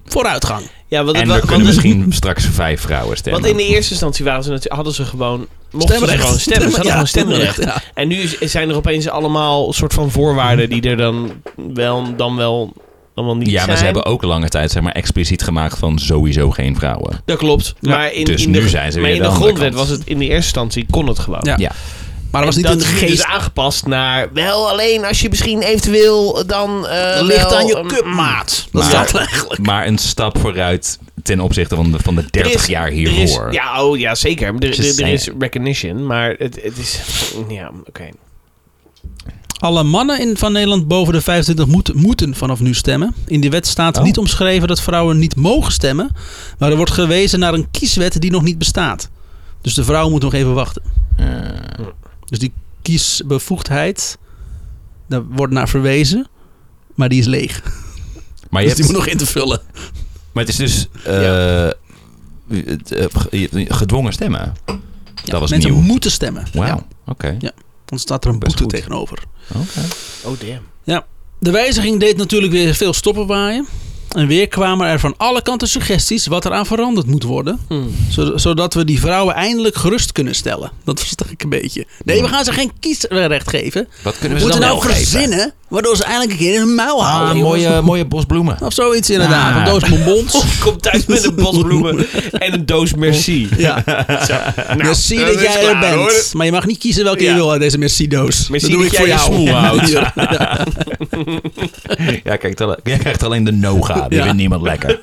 A: Vooruitgang.
C: ja, want,
B: en
C: want-
B: er kunnen
C: want-
B: misschien straks vijf vrouwen stemmen.
C: want in de eerste instantie waren ze natuurlijk, hadden ze gewoon. Mochten ze
A: Stemrecht.
C: gewoon stemmen. Ze hadden
A: Ja,
C: gewoon stemrecht.
A: stemrecht,
C: En nu is- zijn er opeens allemaal een soort van voorwaarden die er dan wel, dan wel, dan wel niet
B: ja,
C: zijn.
B: maar ze hebben ook lange tijd zeg maar, expliciet gemaakt van sowieso geen vrouwen.
C: Dat klopt. Maar in,
B: Dus
C: in de,
B: nu zijn ze
C: maar
B: weer
C: in de
B: de andere
C: grondwet
B: kant.
C: was het in de eerste instantie kon het gewoon.
A: Ja.
B: Ja.
A: Maar dat was niet
C: dat
A: in de
C: is nu
A: geest.
C: dus aangepast naar wel alleen als je misschien eventueel dan eh,
A: Dat ligt
C: wel,
A: aan je
C: ehm,
A: cupmaat. Dat
B: maar-
A: staat eigenlijk.
B: Maar een stap vooruit ten opzichte van de, van de 30
C: Er is-
B: jaar
C: er
B: hiervoor.
C: is- ja, oh, ja, zeker. Er,
B: Just
C: er, er is
B: saying.
C: recognition, maar het, het is... Ja, oké.
A: Alle mannen in, van Nederland boven de 25 moet- moeten vanaf nu stemmen. In de wet staat
B: Oh.
A: niet omschreven dat vrouwen niet mogen stemmen. Maar er wordt gewezen naar een kieswet die nog niet bestaat. Dus de vrouw moet nog even wachten.
B: Eh,
A: Dus die kiesbevoegdheid, daar wordt naar verwezen. Maar die is leeg.
B: maar, je
A: dus die
B: hebt,
A: moet nog in te vullen.
B: maar het is dus eh, het, eh, ge- gedwongen stemmen.
A: Ja,
B: dat was
A: mensen
B: nieuw.
A: moeten stemmen.
B: Wauw,
A: Ja,
B: oké.
A: anders staat er een
B: Best
A: boete
B: goed.
A: tegenover.
B: Oké.
C: Oh, damn.
A: De wijziging deed natuurlijk weer veel stoppen waaien. En weer kwamen er van alle kanten suggesties wat eraan veranderd moet worden. Zo- zodat we die vrouwen eindelijk gerust kunnen stellen. Dat versta ik een beetje. Nee, we gaan ze geen kiesrecht geven.
B: Wat kunnen
A: We
B: we ze
A: moeten
B: dan
A: nou
B: wel geven?
A: verzinnen, waardoor ze eindelijk een keer in hun muil
B: Ah,
A: houden.
B: mooie, mooie
A: [LAUGHS]
B: bosbloemen.
A: Of zoiets inderdaad. Een
B: Ah.
A: doos bonbons.
B: [LAUGHS]
C: Kom thuis met een bos bloemen en een doos merci. Nou,
A: Ja. merci
C: dat
A: dat
C: is
A: jij er
C: klaar,
A: bent.
C: hoor.
A: Maar je mag niet kiezen welke
C: Ja.
A: je wil uit deze merci-doos.
C: Merci
A: dat doe
C: dat
A: ik voor
C: jij je
A: jou.
C: smoel houdt.
A: [LAUGHS] Ja. Ja.
B: Ja, kijk, alle- jij krijgt alleen de noga. Die
A: Ja.
B: vindt niemand
A: [LAUGHS]
B: lekker.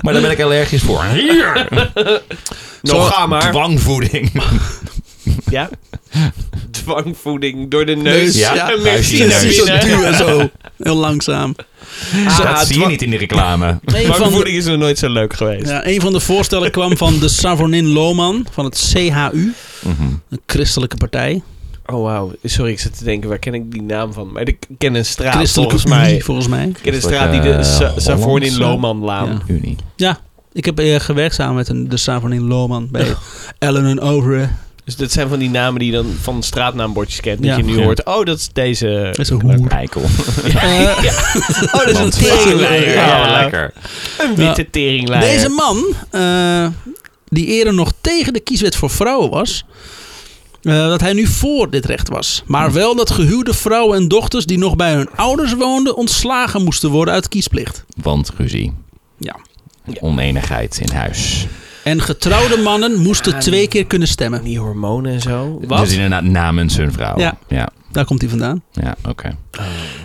B: maar daar ben ik allergisch voor. Hier!
C: Nou,
A: Zo-
C: ga maar.
B: [LAUGHS] Dwangvoeding.
A: Ah,
C: Ja? Dwangvoeding door de neus.
A: Neus. Ja,
B: Ja,
C: En
B: huisje
C: merci
B: in
A: Precies,
B: neus.
A: zo
C: naar binnen.
A: duw en zo. Heel langzaam.
C: Ah,
B: dat zie je
C: dwang-
B: niet in die reclame.
A: Een van de
C: Dwangvoeding is nog nooit zo leuk geweest.
A: Ja, een van de voorstellen kwam van de Savonin Lohman van het CHU,
B: Mhm.
A: een christelijke partij.
C: Oh, wauw. Sorry, ik zit te denken, waar ken ik die naam van? Maar ik ken een straat,
A: christelijke
C: volgens mij.
A: Unie, volgens mij.
C: Ik ken een
B: Soort,
C: straat die de
B: eh,
C: Sa-
B: Hollandse?
C: Savonin Lohmanlaan.
A: Ja.
B: Unie.
A: Ik heb eh, gewerkt samen met een, de Savonin Lohman bij Ellen en Overen.
C: Dus dat zijn van die namen die je dan van straatnaambordjes kent. Dat
A: Ja. Dus
C: je nu
B: Ja.
C: hoort, oh, dat is deze...
A: Dat is een hoer. [LAUGHS]
B: Eikel. [LAUGHS]
A: Eh,
C: Oh, dat is een
B: Want-
C: teringleier.
B: Ja,
C: Ja,
B: lekker.
C: Een witte teringleier.
A: Deze man, eh, die eerder nog tegen de kieswet voor vrouwen was, eh, dat hij nu voor dit recht was. Maar wel dat gehuwde vrouwen en dochters die nog bij hun ouders woonden ontslagen moesten worden uit kiesplicht.
B: Want ruzie.
A: Ja.
B: Oneenigheid in huis.
A: En getrouwde mannen moesten twee keer kunnen stemmen.
C: Die hormonen en zo. Wat?
B: Dus inderdaad namens hun vrouw.
A: Ja.
B: Ja,
A: Daar komt hij vandaan.
B: ja oké.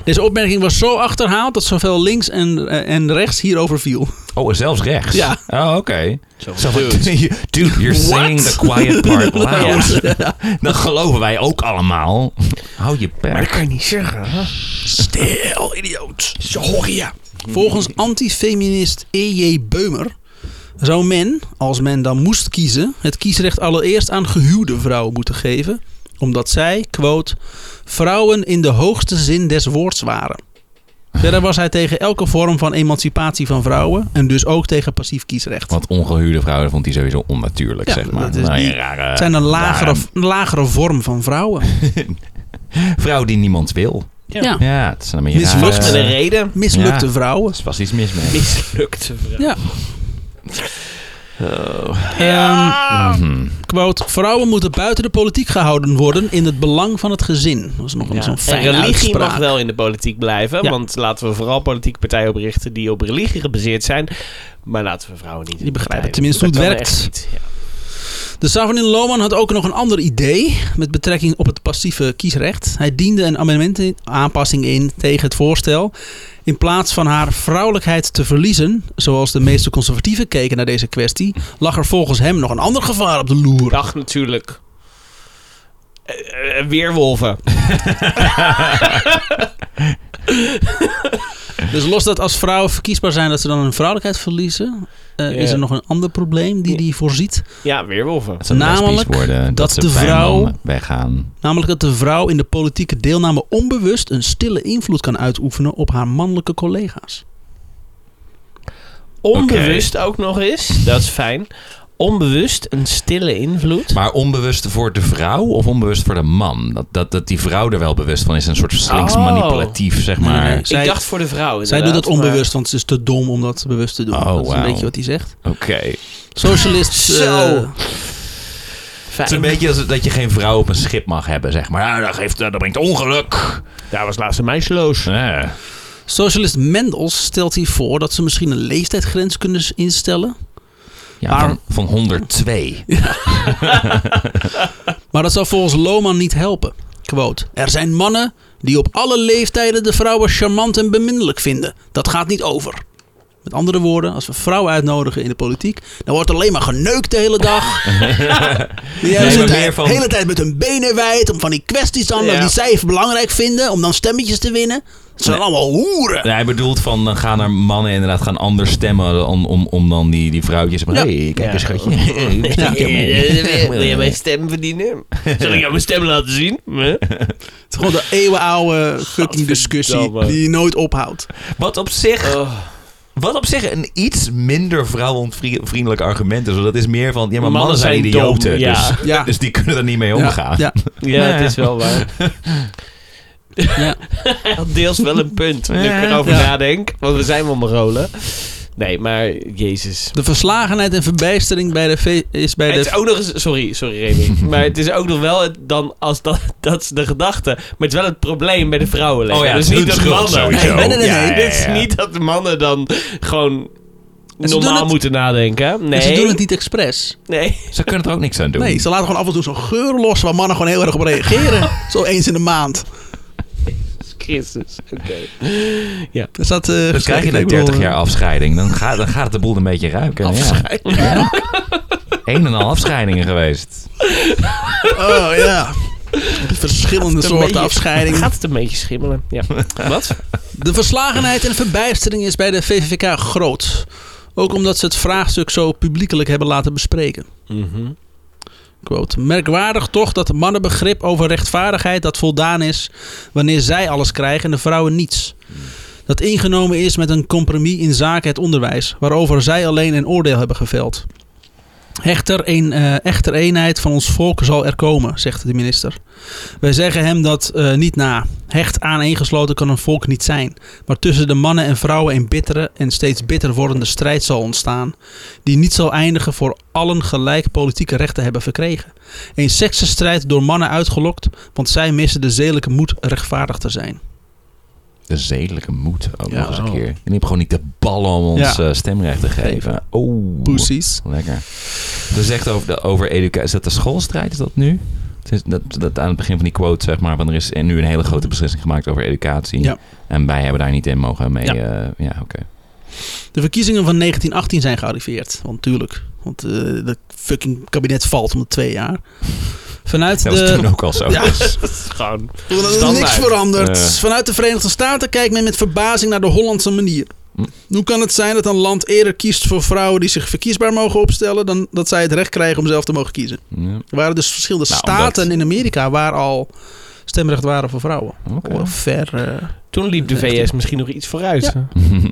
A: Deze opmerking was zo achterhaald dat zowel links en, eh, en rechts hierover viel.
B: Oh, zelfs rechts?
A: Ja.
B: Oh, oké. Zo van,
A: dude.
B: dude,
A: [LAUGHS]
B: you're saying the quiet part loud. Dan geloven wij ook allemaal. Hou je
C: Dat
B: bek.
C: kan je niet zeggen. hè?
A: Stil, idioot. Sorry. Volgens antifeminist E.J. Beumer zou men, als men dan moest kiezen, het kiesrecht allereerst aan gehuwde vrouwen moeten geven. Omdat zij, quote, vrouwen in de hoogste zin des woords waren. Verder was hij tegen elke vorm van emancipatie van vrouwen en dus ook tegen passief kiesrecht.
B: Want ongehuwde vrouwen vond hij sowieso onnatuurlijk,
A: Ja,
B: zeg maar.
A: dat is
B: nou, ja,
A: die-
B: rare,
A: Het zijn een lagere,
B: rare
A: een lagere vorm van vrouwen.
B: vrouw die niemand wil.
A: Ja.
B: Ja, het is een beetje
A: Mislukt
B: raar.
A: met
C: De
A: een
B: Er
C: reden
A: Mislukte
B: Ja.
A: vrouwen.
B: was iets mis mee.
C: mislukte vraag.
A: Ja. Ehm,
B: Mhm.
A: quote, vrouwen moeten buiten de politiek gehouden worden in het belang van het gezin. Dat is nog een
C: Ja.
A: zo'n
C: En
A: fijne
C: religie
A: uitspraak.
C: mag wel in de politiek blijven.
A: Ja.
C: Want laten we vooral politieke partijen oprichten die op religie gebaseerd zijn. Maar laten we vrouwen niet. in
A: Die
C: de
A: begrijpen
C: partijen doen.
A: tenminste hoe
C: Dat
A: het
C: kan echt niet,
A: De Savonin Loman had ook nog een ander idee met betrekking op het passieve kiesrecht. Hij diende een amendement in, aanpassing in tegen het voorstel. In plaats van haar vrouwelijkheid te verliezen, zoals de meeste conservatieven keken naar deze kwestie, lag er volgens hem nog een ander gevaar op de
C: ja.
A: loer.
C: Dag natuurlijk. Eh, eh,
A: [LAUGHS]
C: weerwolven.
A: Dus los dat als vrouwen verkiesbaar zijn dat ze dan hun vrouwelijkheid verliezen, eh,
C: Ja.
A: is er nog een ander probleem die hij voorziet.
C: Ja, weerwolven.
B: Dat ze lesbisch
A: Namelijk
B: worden, dat,
A: dat
B: ze
A: de
B: bij een
A: vrouw-
B: man weggaan.
A: Namelijk dat de vrouw in de politieke deelname onbewust een stille invloed kan uitoefenen op haar mannelijke collega's.
C: Onbewust ook nog eens. Dat is fijn. Onbewust een stille invloed.
B: Maar onbewust voor de vrouw of onbewust voor de man? Dat, dat, dat die vrouw er wel bewust van is. Een soort slinks
C: Oh.
B: manipulatief, zeg
A: Nee, nee,
B: maar.
A: nee. zij-
C: Ik dacht voor de vrouw.
A: Zij doet dat
C: inderdaad, maar-
A: onbewust, want ze is te dom om dat bewust te doen.
B: Oh,
A: dat is een
B: wauw.
A: beetje wat hij zegt.
B: Oké.
A: Socialists. eh,
C: [LAUGHS] Zo. Fijn.
B: Het is een beetje als dat je geen vrouw op een schip mag hebben, zeg maar. Ja, dat, geeft, dat brengt ongeluk.
C: Daar was laatst een meisjeloos.
B: Ja.
A: socialist Mendels stelt hier voor dat ze misschien een leeftijdsgrens kunnen s- instellen.
B: Ja,
A: Maar-
B: van, van 102.
A: Maar dat zou volgens Lohman niet helpen. Quote. Er zijn mannen die op alle leeftijden de vrouwen charmant en beminnelijk vinden. Dat gaat niet over. Met andere woorden, als we vrouwen uitnodigen in de politiek, dan wordt alleen maar geneukt de hele dag. Die hebben
B: Nee,
A: ze
B: maar
A: de
B: meer van-
A: hele tijd met hun benen wijd om van die kwesties aan
C: Ja.
A: die zij belangrijk vinden, om dan stemmetjes te winnen. Het zijn allemaal hoeren.
B: Nee, hij bedoelt van, dan gaan er mannen inderdaad gaan anders stemmen om, om, om dan die, die vrouwtjes. Maar
A: Ja.
B: hey, kijk
C: Ja.
B: eens
C: [LAUGHS]
B: schatje. Hey,
C: [LAUGHS] Ja.
B: stem je
C: Wil jij
B: mee?
C: mijn stem verdienen? [LAUGHS] Oh, Zal ik jou mijn stem laten zien?
A: Het is gewoon de eeuwenoude fucking
C: Gadverdamme.
A: discussie die je nooit ophoudt.
B: Wat op zich... Wat op zich een iets minder vrouwonvriendelijk argument is. want Dat is meer van, ja, maar mannen,
C: Mannen
B: zijn
C: zijn dom,
B: idioten.
C: ja.
B: Dus, [LAUGHS]
A: Ja.
B: dus die kunnen er niet mee omgaan.
A: Ja,
C: ja, het is wel waar.
A: ja, ja.
C: Hij had deels wel een punt, nu ik
B: Ja.
C: erover
A: Ja.
C: nadenk. Want we zijn wel rollen. Nee, maar jezus.
A: De verslagenheid en verbijstering bij de ve- is bij
C: Het
A: de
C: is ook nog eens, sorry, sorry
A: [LAUGHS]
C: Remy. Maar het is ook nog wel het, dan als dat, [LAUGHS] dat is de gedachte. Maar het is wel het probleem bij de vrouwen.
B: Oh ja,
C: dus
B: het is
C: niet
B: hun
C: dat
B: schuld
C: mannen.
B: sowieso.
A: Nee, nee, nee, nee.
C: Dit is
B: ja, ja.
C: niet dat de mannen dan gewoon
A: ze doen
C: normaal
A: het-
C: moeten nadenken. Nee,
A: En Ze doen het niet expres.
C: nee. [LAUGHS]
B: Ze kunnen er ook niks aan doen.
A: Nee, ze laten gewoon af en toe zo'n geur los waar mannen gewoon heel erg op [LAUGHS] reageren. Zo eens in de maand.
C: Christus, oké.
A: Dus dat, eh,
B: Dan krijg je na 30
C: eh,
B: jaar afscheiding. Dan gaat, dan gaat het de boel een beetje
C: [LAUGHS]
B: ruiken.
A: eh,
B: Ja. Een en al afscheidingen geweest.
A: Oh ja. Verschillende
C: Een beetje-
A: soorten afscheidingen.
C: Gaat het een beetje schimmelen?
A: [LAUGHS]
C: Ja. Wat?
A: De verslagenheid en verbijstering is bij de VVVK groot. Ook omdat ze het vraagstuk zo publiekelijk hebben laten bespreken.
C: Mhm.
A: Quote, Merkwaardig toch dat mannenbegrip over rechtvaardigheid dat voldaan is wanneer zij alles krijgen en de vrouwen niets. Dat ingenomen is met een compromis in zaken het onderwijs, waarover zij alleen een oordeel hebben geveld. Echter, een, eh, echter eenheid van ons volk zal er komen, zegt de minister. Wij zeggen hem dat eh, niet na. Hecht aaneengesloten kan een volk niet zijn. Maar tussen de mannen en vrouwen een bittere en steeds bitter wordende strijd zal ontstaan die niet zal eindigen voor allen gelijk politieke rechten hebben verkregen. Een seksenstrijd door mannen uitgelokt, want zij missen de zedelijke moed rechtvaardig te zijn.
B: De zedelijke moed ook
A: Ja. oh.
B: nog eens een keer. En die hebben gewoon niet de ballen om ons
A: Ja.
B: eh, stemrecht te geven. Oh,
A: Poesies.
B: lekker. Dat is echt over, de- over educatie. Is dat de schoolstrijd? Is dat nu? Het is dat, dat aan het begin van die quote, zeg maar. Want er is nu een hele grote beslissing gemaakt over educatie.
A: Ja.
B: En wij hebben daar niet in mogen mee.
A: Ja.
B: eh, Ja, oké.
A: de verkiezingen van 1918 zijn gearriveerd. Want tuurlijk, want eh dat fucking kabinet valt om de twee jaar. Vanuit
B: Dat
A: de...
B: was toen ook al zo.
A: Ja,
C: Gewoon.
A: er is
C: Standaard.
A: niks veranderd.
B: Eh.
A: Vanuit de Verenigde Staten kijkt men met verbazing naar de Hollandse manier.
B: Hm.
A: Hoe kan het zijn dat een land eerder kiest voor vrouwen die zich verkiesbaar mogen opstellen... dan dat zij het recht krijgen om zelf te mogen kiezen?
B: Ja,
A: Er waren dus verschillende
B: Nou, omdat-
A: staten in Amerika waar al stemrecht waren voor vrouwen.
B: oké.
A: Wel Ver. eh,
C: Toen liep de VS misschien nog iets vooruit.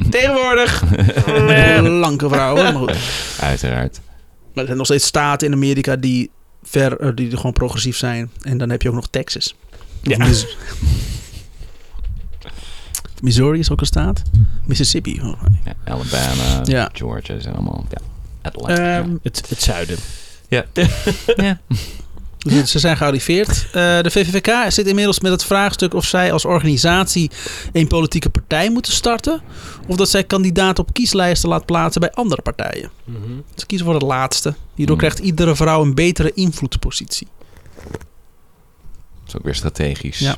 C: Tegenwoordig.
A: [LAUGHS] Blanke vrouwen. Maar, goed.
B: [LAUGHS] Uiteraard.
A: maar er zijn nog steeds staten in Amerika die, ver, eh, die gewoon progressief zijn. En dan heb je ook nog Texas.
C: Ja.
A: Of Mis- Missouri is ook een staat. Mississippi. volgens mij.
B: Ja, Alabama,
A: Ja.
B: Georgia zijn allemaal. Ja. Atlanta.
A: Ehm,
C: Het, het zuiden.
B: ja.
A: dus Ze zijn gearriveerd. Eh, de VVVK zit inmiddels met het vraagstuk of zij als organisatie een politieke partij moeten starten. Of dat zij kandidaten op kieslijsten laat plaatsen bij andere partijen.
C: Mhm.
A: Ze kiezen voor het laatste. Hierdoor
B: Hmm.
A: krijgt iedere vrouw een betere invloedspositie.
B: Dat is ook weer strategisch.
A: Ja.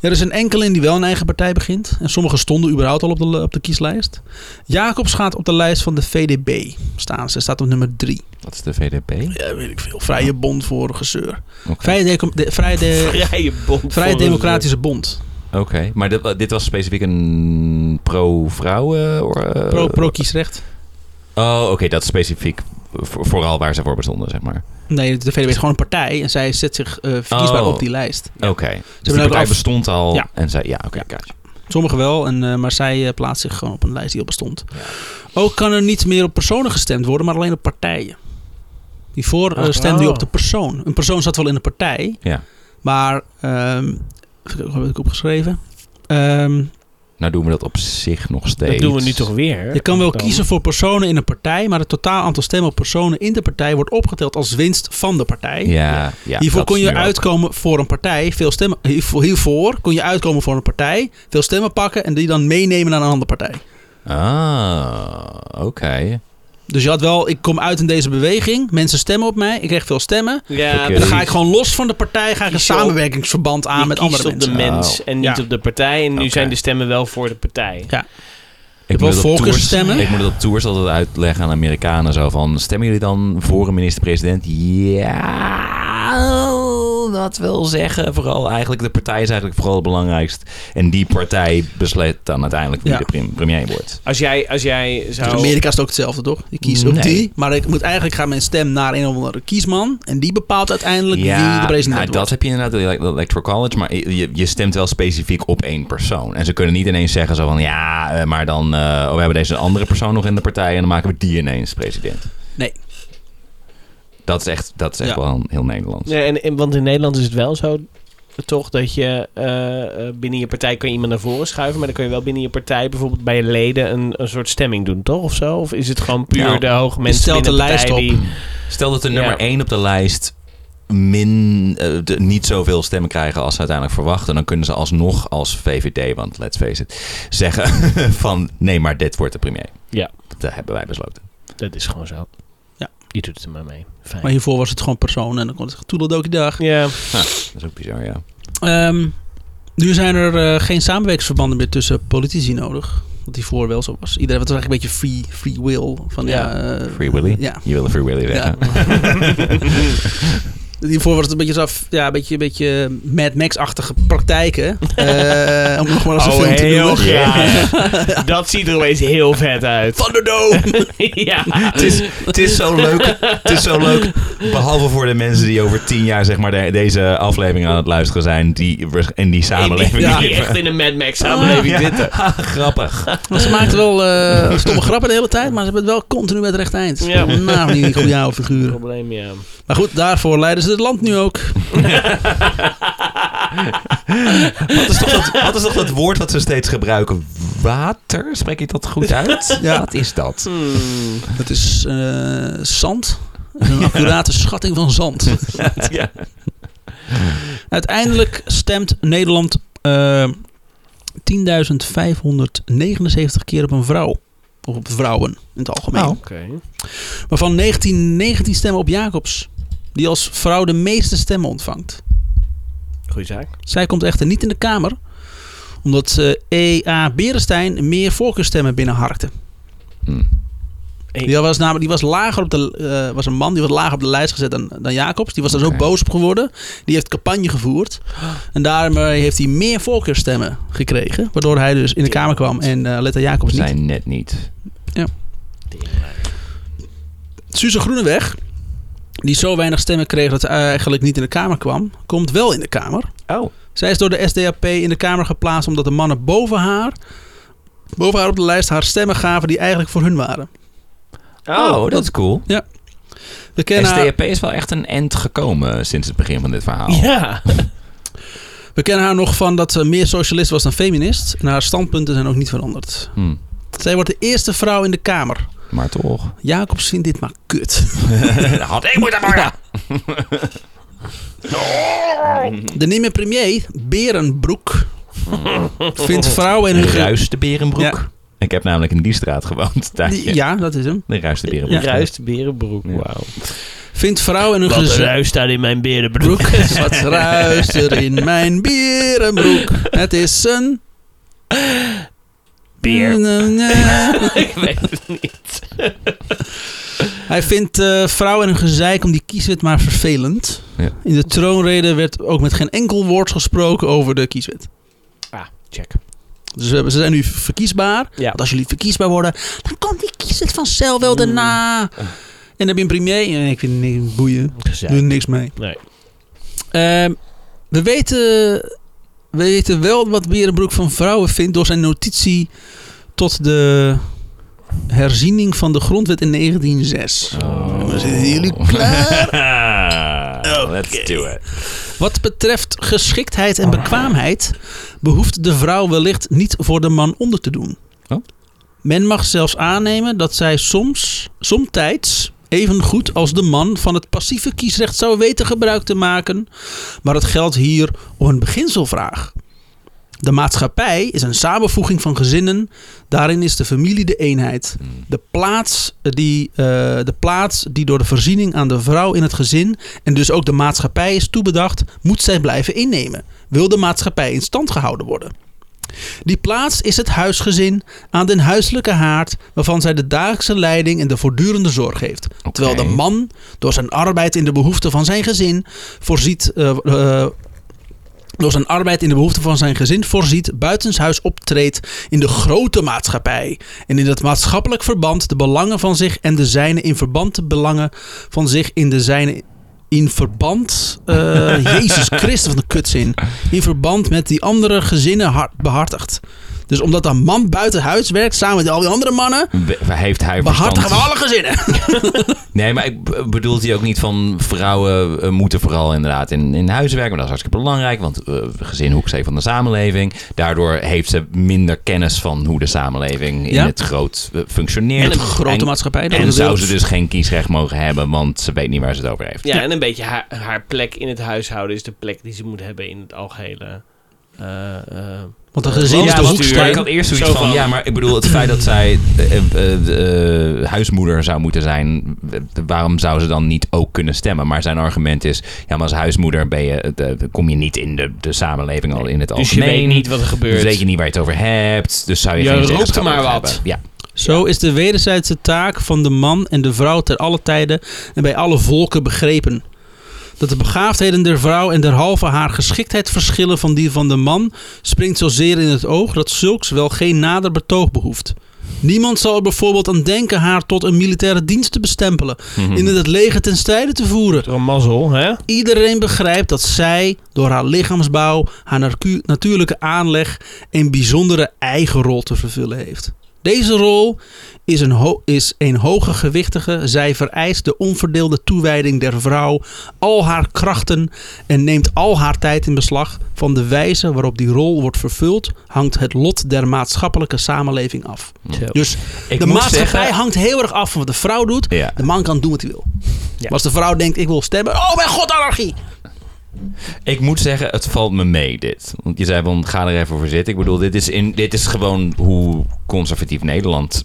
A: Er is een enkeling die wel een eigen partij begint. En sommigen stonden überhaupt al op de, op de kieslijst. Jacobs gaat op de lijst van de VDB staan. Ze staat op nummer 3.
B: Dat is de VDP. Oké.
A: Ja, weet ik veel. Vrije Bond voor gezeur. Vrije, Deco- de, vrije, de,
C: Vrije bond.
A: Eh, vrije
C: voor-
A: Democratische Bond.
B: Oké. Maar dit, dit was specifiek een pro-vrouwen? or, eh,
A: Pro- Pro-kiesrecht.
B: Oh, oké. dat is specifiek voor- vooral waar ze voor bestonden, zeg maar.
A: nee, de VDB is gewoon een partij. En zij zet zich eh, verkiesbaar
B: Oh.
A: op die lijst.
B: Oké. Dus
A: hebben
B: die
A: ook
B: partij
A: af-
B: bestond al
A: Ja.
B: en zei... Ja, oké. gotcha.
A: Sommigen wel, en, eh, maar zij eh, plaatst zich gewoon op een lijst die al bestond. Ook kan er niet meer op personen gestemd worden, maar alleen op partijen. Hiervoor eh,
C: Oh.
A: stemde je op de persoon. Een persoon zat wel in de partij,
B: Ja.
A: maar... ehm even kijken, wat heb ik opgeschreven? Ehm,
B: Nou doen we dat op zich nog steeds.
C: Dat doen we nu toch weer.
A: je kan wel
C: Dan.
A: kiezen voor personen in een partij, maar het totaal aantal stemmen op personen in de partij wordt opgeteld als winst van de partij.
B: Ja. ja
A: Hiervoor
B: dat
A: kon
B: is
A: je
B: nu ook.
A: uitkomen voor een partij, veel stemmen. Hiervoor, hiervoor kon je uitkomen voor een partij, veel stemmen pakken en die dan meenemen naar een andere partij.
B: Ah, oké.
A: Dus je had wel, ik kom uit in deze beweging, mensen stemmen op mij, ik krijg veel stemmen.
C: Ja,
B: Oké.
A: Dan ga ik gewoon los van de partij, ga ik een
C: Kies je op-
A: samenwerkingsverband aan
C: je
A: met
C: kiest
A: andere
C: op de
A: mensen.
C: mens
B: Oh.
C: en niet
A: Ja.
C: op de partij. En nu
B: Oké.
C: zijn de stemmen wel voor de partij.
B: Ik
A: hebt
B: moet
A: wel
B: dat op
A: voorkeursstemmen?
B: Tours, ik moet dat op tours altijd uitleggen aan Amerikanen. Zo van, stemmen jullie dan voor een minister-president? Ja, dat wil zeggen. Vooral eigenlijk, de partij is eigenlijk vooral het belangrijkst. En die partij besluit dan uiteindelijk wie
A: Ja.
B: de prim- premier wordt.
C: Als jij, als jij
A: In
C: zou...
A: Dus Amerika is het ook hetzelfde, toch? Ik kies op
B: Nee.
A: die, maar ik moet eigenlijk gaan mijn stem naar een of andere kiesman. En die bepaalt uiteindelijk wie de president
B: nou, dat
A: wordt.
B: heb je inderdaad in de Electoral College. Maar je, je stemt wel specifiek op één persoon. En ze kunnen niet ineens zeggen zo van... Ja, eh, maar dan... eh, oh, we hebben deze andere persoon nog in de partij... en dan maken we die ineens president.
A: Nee.
B: Dat is echt, dat is echt
A: Ja.
B: wel een heel Nederlands.
C: Ja, en, en- want in Nederland is het wel zo toch dat je eh, eh, binnen je partij kan je iemand naar voren schuiven, maar dan kun je wel binnen je partij bijvoorbeeld bij je leden een, een soort stemming doen, toch? Of zo? Of is het gewoon puur
B: Nou,
C: de hoge mensen
A: stelt
C: binnen
A: de lijst
C: partij
A: op.
C: die
B: Stel dat de
C: Ja.
B: nummer 1 op de lijst min, eh, de- niet zoveel stemmen krijgen als ze uiteindelijk verwachten. Dan kunnen ze alsnog als VVD, want let's face it, zeggen [LAUGHS] van nee, maar dit wordt de premier.
C: Ja.
B: Dat hebben wij besloten.
C: dat is gewoon zo.
A: Ja.
C: Je doet het er maar mee. Fijn.
A: Maar hiervoor was het gewoon persoon en dan kon het toedeldokie dag.
C: ja.
B: Dat is ook bizar, ja.
A: Ehm, nu zijn er eh, geen samenwerkingsverbanden meer tussen politici nodig. Wat hiervoor wel zo was. Iedereen was eigenlijk een beetje free, free will. Van, ja,
B: Ja,
A: eh,
B: Free Willy?
A: Ja.
B: Je wilde Free Willy zeggen.
A: [LAUGHS] Hiervoor was het een beetje, zo, ja, een beetje, een beetje Mad Max-achtige
C: [LAUGHS]
A: praktijken. Eh, om nog maar eens een film te
C: Oh, heel [LAUGHS]
A: noemen.
C: graag. [LAUGHS] Dat ziet er opeens heel vet uit.
A: Thunderdome!
C: [LAUGHS] ja.
B: Het is, het, is zo leuk, het is zo leuk. Behalve voor de mensen die over tien jaar zeg maar, de- deze aflevering aan het luisteren zijn. Die, waars- in [LAUGHS] die samenleving.
A: Ja.
C: Die
B: leven.
C: echt in een Mad Max samenleving zitten.
A: [LAUGHS]
B: Grappig.
A: Maar ze maakten wel eh, stomme grappen de hele tijd, maar ze hebben het wel continu bij het rechte eind.
C: Ja.
A: Nou, die
C: [LAUGHS]
A: goede oude figuren.
C: Probleem, [LAUGHS] ja.
A: Maar goed, daarvoor leiden ze het land nu ook.
B: Wat is, toch dat, wat is toch dat woord wat ze steeds gebruiken? Water? Spreek ik dat goed uit?
A: Ja.
B: Wat is dat?
C: Hmm.
A: Het is eh, zand.
C: [LAUGHS]
A: Een accurate schatting van zand.
B: Ja.
A: Uiteindelijk stemt Nederland eh, 10.579 keer op een vrouw. Of op vrouwen in het algemeen.
B: Nou.
C: Oké.
A: Waarvan 1919 stemmen op Jacobs. Die als vrouw de meeste stemmen ontvangt.
C: Goeie zaak.
A: Zij komt echter niet in de Kamer. Omdat eh, ze E.A. Berestein meer voorkeurstemmen binnenharkte.
B: Hm.
A: Die was, namelijk, die was, lager op de, eh, was een man die was lager op de lijst gezet dan, dan Jacobs. Die was daar
B: Oké.
A: zo boos op geworden. Die heeft campagne gevoerd. En daarmee heeft hij meer voorkeurstemmen gekregen. Waardoor hij dus in de Kamer kwam en eh Letta Jacobs niet.
B: Zijn net niet.
A: Suze Groeneweg, die zo weinig stemmen kreeg dat ze eigenlijk niet in de Kamer kwam, komt wel in de Kamer.
C: Oh.
A: Zij is door de SDAP in de Kamer geplaatst omdat de mannen boven haar, boven haar op de lijst haar stemmen gaven die eigenlijk voor hun waren.
B: Oh,
A: Nou,
B: dat is cool.
A: We
B: En
A: kennen, haar,
B: STAP is wel echt een end gekomen sinds het begin van dit verhaal.
C: Ja.
A: we kennen haar nog van dat ze meer socialist was dan feminist. En haar standpunten zijn ook niet veranderd.
B: Hm.
A: Zij wordt de eerste vrouw in de Kamer.
B: Maar toch.
A: Jacobs vindt dit maar kut.
B: [LAUGHS] Had ik moeten worden.
A: De nieuwe premier, Berenbroek, vindt vrouwen en hun... ge-
B: Ruis de Berenbroek.
A: Ja.
B: Ik heb namelijk in die straat gewoond. [LAUGHS] Daar,
A: Die- ja, dat is hem.
B: De Ruis de
C: Ja.
B: Berenbroek.
C: Ruist berenbroek.
B: Ja.
C: Wauw.
A: Vindt vrouwen en hun
C: Wat
A: gezin...
C: ruist daar in mijn berenbroek?
A: broek. Wat ruist er in mijn bierenbroek? Het is een...
C: [LAUGHS] Beer. Ik weet het niet.
A: Hij vindt eh, vrouwen en hun gezeik om die kieswet maar vervelend.
B: Ja.
A: In de troonrede werd ook met geen enkel woord gesproken over de kieswet.
C: Ah, check.
A: Dus we hebben- ze zijn nu verkiesbaar.
C: Ja.
A: Want als jullie verkiesbaar worden, dan komt die kieswet vanzelf wel daarna. En dan heb je een premier. En ik vind niks boeien. Doe er
C: Gezeik.
A: niks mee.
C: Nee.
A: Ehm, we, weten, we weten wel wat Berenbroek van vrouwen vindt door zijn notitie tot de herziening van de grondwet in 1906.
B: Oh.
A: We zitten jullie klaar?
B: [LAUGHS] Ah, Let's do it.
A: Wat betreft geschiktheid en bekwaamheid behoeft de vrouw wellicht niet voor de man onder te doen.
B: Oh.
A: Men mag zelfs aannemen dat zij soms, somtijds, even goed als de man van het passieve kiesrecht zou weten gebruik te maken. Maar het geldt hier om een beginselvraag. De maatschappij is een samenvoeging van gezinnen. Daarin is de familie de eenheid. De plaats, die, eh, de plaats die door de voorziening aan de vrouw in het gezin en dus ook de maatschappij is toebedacht, moet zij blijven innemen. Wil de maatschappij in stand gehouden worden? Die plaats is het huisgezin aan den huiselijke haard, waarvan zij de dagelijkse leiding en de voortdurende zorg heeft. Terwijl de man door zijn arbeid in de behoeften van zijn gezin voorziet. eh, eh, door zijn arbeid in de behoeften van zijn gezin voorziet, buitenshuis optreedt in de grote maatschappij. En in dat maatschappelijk verband de belangen van zich en de zijne in verband de belangen van zich in de zijne in verband. [LAUGHS] eh, Jezus Christus, wat een kutzin. In verband met die andere gezinnen har- behartigt. Dus omdat een man buiten huis werkt samen met al die andere mannen,
B: We- Heeft hij
A: behartigen we
B: verstand?
A: alle gezinnen.
B: Nee, maar ik b- bedoelt hij ook niet van vrouwen eh, moeten vooral inderdaad in, in huis werken. Maar dat is hartstikke belangrijk, want eh, gezin hoek ze van de samenleving. Daardoor heeft ze minder kennis van hoe de samenleving in
A: Ja.
B: het groot eh, functioneert.
A: En de grote maatschappij. dat
B: En
A: is
B: zou
A: wel-
B: ze dus geen kiesrecht mogen hebben, want ze weet niet waar ze het over heeft.
C: Ja, en een beetje haar, haar plek in het huishouden is de plek die ze moet hebben in het algehele. eh, eh,
A: Want een gezin is dus
C: Ja,
A: de
C: want
B: maar ik had
A: hoeksteen.
B: eerst zoiets
C: Zo
B: van,
C: van-
B: ja, maar ik bedoel, het feit dat zij eh, eh, eh, de, eh, huismoeder zou moeten zijn, eh, waarom zou ze dan niet ook kunnen stemmen? Maar zijn argument is, ja, maar als huismoeder ben je, eh, de- kom je niet in de, de samenleving al in het
C: dus je
B: algemeen.
C: weet niet wat er
B: Dus
C: gebeurt.
B: weet je niet waar je het over hebt, dus zou je,
C: Je
B: geen
C: rookt er
B: zeggenschap
C: maar
B: over
C: wat.
B: hebben. Ja,
A: Zo is de wederzijdse taak van de man en de vrouw ter alle tijden en bij alle volken begrepen. Dat de begaafdheden der vrouw en derhalve haar geschiktheid verschillen van die van de man, springt zozeer in het oog dat zulks wel geen nader betoog behoeft. Niemand zal er bijvoorbeeld aan denken haar tot een militaire dienst te bestempelen,
B: Hmm.
A: in het leger ten strijde te voeren.
C: Door een mazzel, hè?
A: Iedereen begrijpt dat zij door haar lichaamsbouw, haar narcu- natuurlijke aanleg een bijzondere eigen rol te vervullen heeft. Deze rol is een, ho- is een hoge gewichtige. Zij vereist de onverdeelde toewijding der vrouw, al haar krachten en neemt al haar tijd in beslag. Van de wijze waarop die rol wordt vervuld, hangt het lot der maatschappelijke samenleving af. Dus
B: Ik
A: de
B: moet
A: maatschappij
B: zeggen-
A: hangt heel erg af van wat de vrouw doet.
B: Ja.
A: De man kan doen wat hij wil.
C: Ja.
A: Als de vrouw denkt, ik wil stemmen. Oh mijn god, anarchie!
B: Ik moet zeggen, het valt me mee dit. Want je zei van, ga er even voor zitten. Ik bedoel, dit is, in, dit is gewoon hoe conservatief Nederland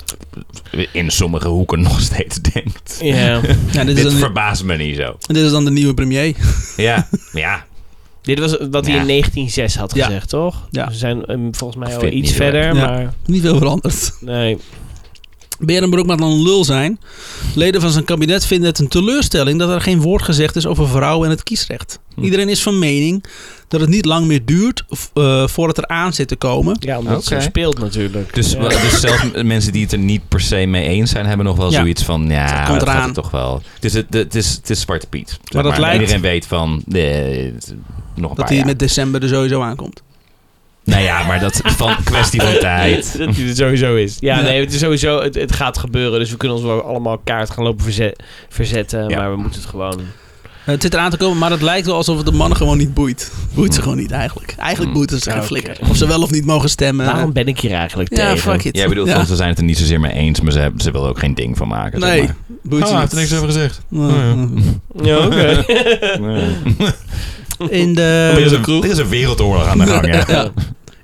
B: eh, in sommige hoeken [LAUGHS] nog steeds denkt.
C: Ja. [LAUGHS]
A: Ja, dit,
B: Dit
A: is dan,
B: verbaast me niet zo.
A: dit is dan de nieuwe premier.
B: [LAUGHS] Ja, ja.
C: Dit was wat hij
B: Ja.
C: in 1906 had
A: Ja.
C: gezegd, toch?
A: Ja.
C: Ze zijn ehm, volgens mij
B: Ik
C: al
B: vind het
C: iets
B: niet heel
C: verder,
A: erg. Ja.
C: maar
A: [LAUGHS] Niet veel veranderd.
C: nee.
A: Berenbroek mag dan een lul zijn. Leden van zijn kabinet vinden het een teleurstelling dat er geen woord gezegd is over vrouwen en het kiesrecht.
B: Hm.
A: Iedereen is van mening dat het niet lang meer duurt v- eh, voordat er aan zit te komen.
C: Ja, omdat het
B: Oké.
C: zo speelt natuurlijk.
B: Dus,
C: Ja. [LAUGHS]
B: wel- dus zelfs m- mensen die het er niet per se mee eens zijn, hebben nog wel
A: Ja.
B: zoiets van, ja,
A: komt
B: dat gaat
A: eraan.
B: het toch wel. Dus het, het, is, het is Zwarte Piet. zeg
A: dat lijkt-
B: Iedereen weet van, eh, het- nog een
A: Dat
B: paar
A: hij
B: jaar.
A: met december er sowieso aankomt.
B: Nou ja, maar dat is
A: [LAUGHS]
B: van kwestie van tijd.
C: dat het sowieso is. Ja,
A: Ja.
C: nee, het is sowieso, het, het gaat gebeuren. Dus we kunnen ons wel allemaal kaart gaan lopen verze- verzetten.
B: Ja.
C: Maar we moeten het gewoon...
A: Eh, Het zit eraan te komen, maar het lijkt wel alsof het de mannen gewoon niet boeit. Boeit ze gewoon niet eigenlijk. Eigenlijk
B: Hm.
A: boeit het ze geen
C: Oké.
A: flikker. Of ze wel of niet mogen stemmen.
C: Waarom ben ik hier eigenlijk
A: ja,
C: tegen?
A: fuck it.
B: Jij bedoelt,
A: Ja.
B: van, ze zijn het er niet zozeer mee eens, maar ze, hebben, ze willen er ook geen ding van maken. zeg
A: Nee, Oh,
B: maar.
A: boeit
B: Ah,
A: ze niet.
B: gezegd.
C: Ja, oké. [LAUGHS]
A: [LAUGHS] In Eh, de...
B: er, is een, er is een wereldoorlog aan de gang, ja.
A: [LAUGHS] Ja.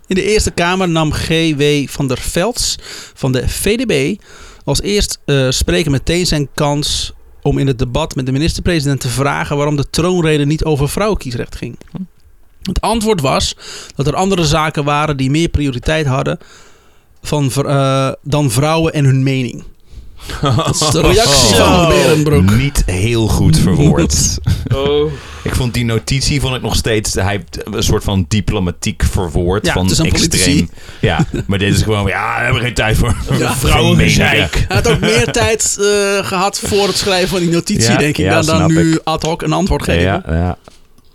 A: In de Eerste Kamer nam G.W. van der Velds van de VDB als eerst eh spreken meteen zijn kans om in het debat met de minister-president te vragen waarom de troonrede niet over vrouwenkiesrecht ging. Het antwoord was dat er andere zaken waren die meer prioriteit hadden van, vr- eh, dan vrouwen en hun mening. Dat is de reactie
B: Oh.
A: van Berenbroek.
B: Niet heel goed
A: [LAUGHS]
B: verwoord.
C: Oh.
B: ik vond die notitie vond ik nog steeds. Hij heeft een soort van diplomatiek verwoord.
A: Ja,
B: van
A: het is een
B: extreem.
A: politici.
B: Ja, maar dit is gewoon. Ja, we hebben geen tijd voor. [LAUGHS]
A: Ja.
B: Vrouwengezeik.
A: Hij had ook
B: [LAUGHS]
A: meer tijd eh, gehad voor het schrijven van die notitie,
B: Ja,
A: denk ik,
B: ja,
A: dan, dan
B: snap
A: nu ad hoc een antwoord
B: Ja,
A: geven.
B: ja. ja.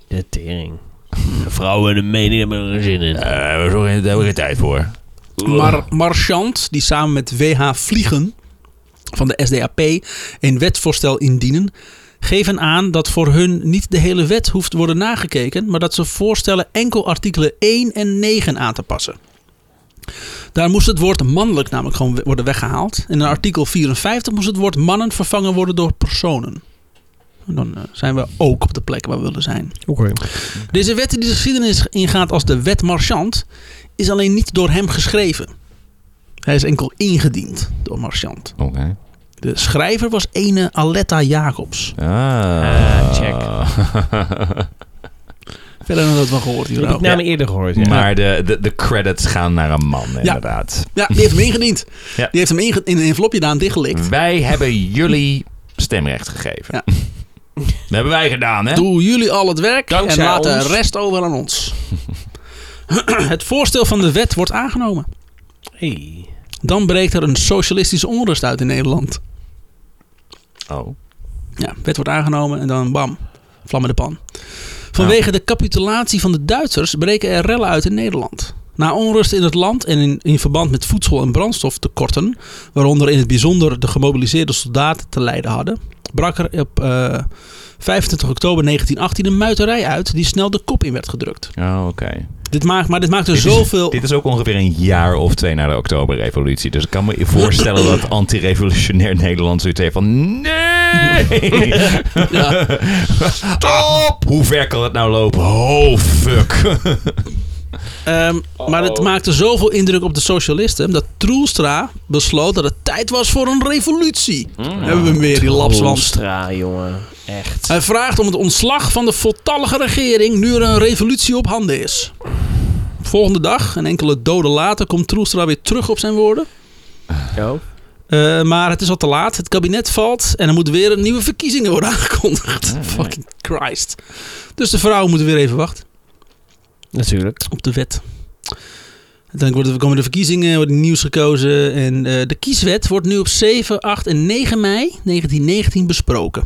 C: De tering. [LAUGHS] Vrouwen en de mening hebben er geen zin in.
B: Eh, we hebben zo geen- daar hebben we geen tijd voor.
A: Mar Marchand, die samen met WH Vliegen van de SDAP een wetvoorstel indienen, geven aan dat voor hun niet de hele wet hoeft te worden nagekeken, maar dat ze voorstellen enkel artikelen 1 en 9 aan te passen. Daar moest het woord mannelijk namelijk gewoon we- worden weggehaald. En in artikel 54 moest het woord mannen vervangen worden door personen. En Dan eh, zijn we ook op de plek waar we willen zijn. Deze wet die de geschiedenis ingaat als de wet Marchand, is alleen niet door hem geschreven. Hij is enkel ingediend door Marchand.
B: Oké.
A: De schrijver was ene Aletta Jacobs.
B: Ah,
C: Ah,
B: [LAUGHS]
C: check.
A: Verder hebben we dat wel gehoord
C: Die
A: hier nou.
C: heb ik
A: ook.
C: namen eerder gehoord. Ja.
B: Maar de, de, de credits gaan naar een man, inderdaad.
A: Ja, die heeft hem ingediend.
B: Ja.
A: Die heeft hem inge- in een envelopje daar
C: Hm.
A: dichtgelikt.
B: Wij hebben jullie stemrecht gegeven.
A: Ja.
B: [LAUGHS] Dat hebben wij gedaan, hè?
A: Doe jullie al het werk
C: Dankzij
A: en laat
C: ons.
A: de rest over aan
C: [LAUGHS]
A: ons. het voorstel van de wet wordt aangenomen.
C: Hey.
A: Dan breekt er een socialistische onrust uit in Nederland.
B: Oh.
A: Ja, wet wordt aangenomen en dan bam, vlam in de pan. Vanwege de capitulatie van de Duitsers breken er rellen uit in Nederland. Na onrust in het land en in, in verband met voedsel- en brandstoftekorten, waaronder in het bijzonder de gemobiliseerde soldaten te lijden hadden, brak er op eh 25 oktober 1918 een muiterij uit die snel de kop in werd gedrukt.
B: Oh, oké.
A: Dit maakt, maar dit maakte
B: Dit is-
A: zoveel...
B: Dit is ook ongeveer een jaar of twee na de Oktoberrevolutie. Dus ik kan me voorstellen dat anti-revolutionair Nederland zoiets heeft
A: [LAUGHS]
B: van... Nee!
A: Ja.
B: Stop! Hoe ver kan het nou lopen? Oh, fuck.
A: Ehm, Maar het maakte zoveel indruk op de socialisten dat Troelstra besloot dat het tijd was voor een revolutie. Hebben we hem weer, die lapswans.
C: Holstra, jongen. Echt.
A: Hij vraagt om het ontslag van de voltallige regering nu er een revolutie op handen is. Volgende dag, een enkele doden later, komt Troelstra weer terug op zijn woorden.
C: Oh.
A: Eh, maar het is al te laat. Het kabinet valt en er moeten weer een nieuwe verkiezingen worden [LAUGHS] aangekondigd. Fucking Christ. Dus de vrouwen moeten weer even wachten
C: Natuurlijk.
A: op de wet. Uiteindelijk worden, komen de verkiezingen, wordt nieuws gekozen. En eh, de kieswet wordt nu op 7, 8 en 9 mei 1919 besproken.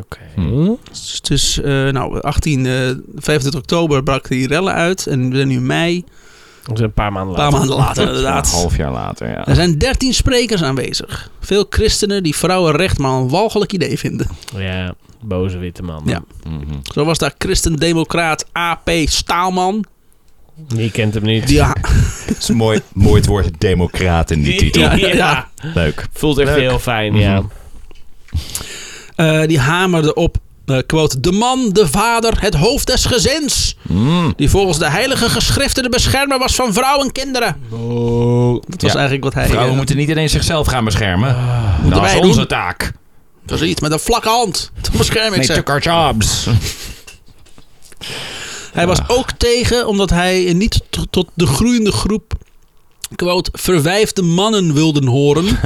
C: Oké.
B: Hm.
A: Dus, dus, eh, nou, 18, eh 25 oktober brak die rellen uit. En we zijn nu in mei, een
C: Dat is een paar maanden
A: paar
C: later.
A: maanden
B: [LAUGHS]
A: later
B: Een
A: inderdaad.
B: half jaar later, ja.
A: Er zijn 13 sprekers aanwezig. Veel christenen die vrouwenrecht maar een walgelijk idee vinden.
C: Ja, boze witte man.
A: Ja.
B: Mhm.
A: Zo was daar christendemocraat A.P. Staalman.
C: Je kent hem niet. [LAUGHS]
A: Die, ja,
B: Het is mooi, mooi het woord democraat in die titel.
A: Ja.
B: Leuk.
C: Voelt echt
B: Leuk.
C: heel fijn, ja.
B: Mhm.
A: [LAUGHS] eh, die hamerde op, eh, quote, de man, de vader, het hoofd des gezins.
B: Mm.
A: Die volgens de heilige geschriften de beschermer was van vrouwen en kinderen. Dat was
B: Ja.
A: eigenlijk wat hij...
B: Vrouwen
A: eh, Ah.
B: moeten niet ineens zichzelf gaan beschermen. dat is
A: wij
B: onze
A: doen.
B: taak.
A: [LAUGHS] Precies, met een vlakke hand. Toen bescherm ik
B: Nee,
A: ze.
B: took our jobs.
A: Hij was
B: Ja.
A: ook tegen omdat hij niet t- tot de groeiende groep quote, verwijfde mannen wilden
B: [LAUGHS]
A: horen.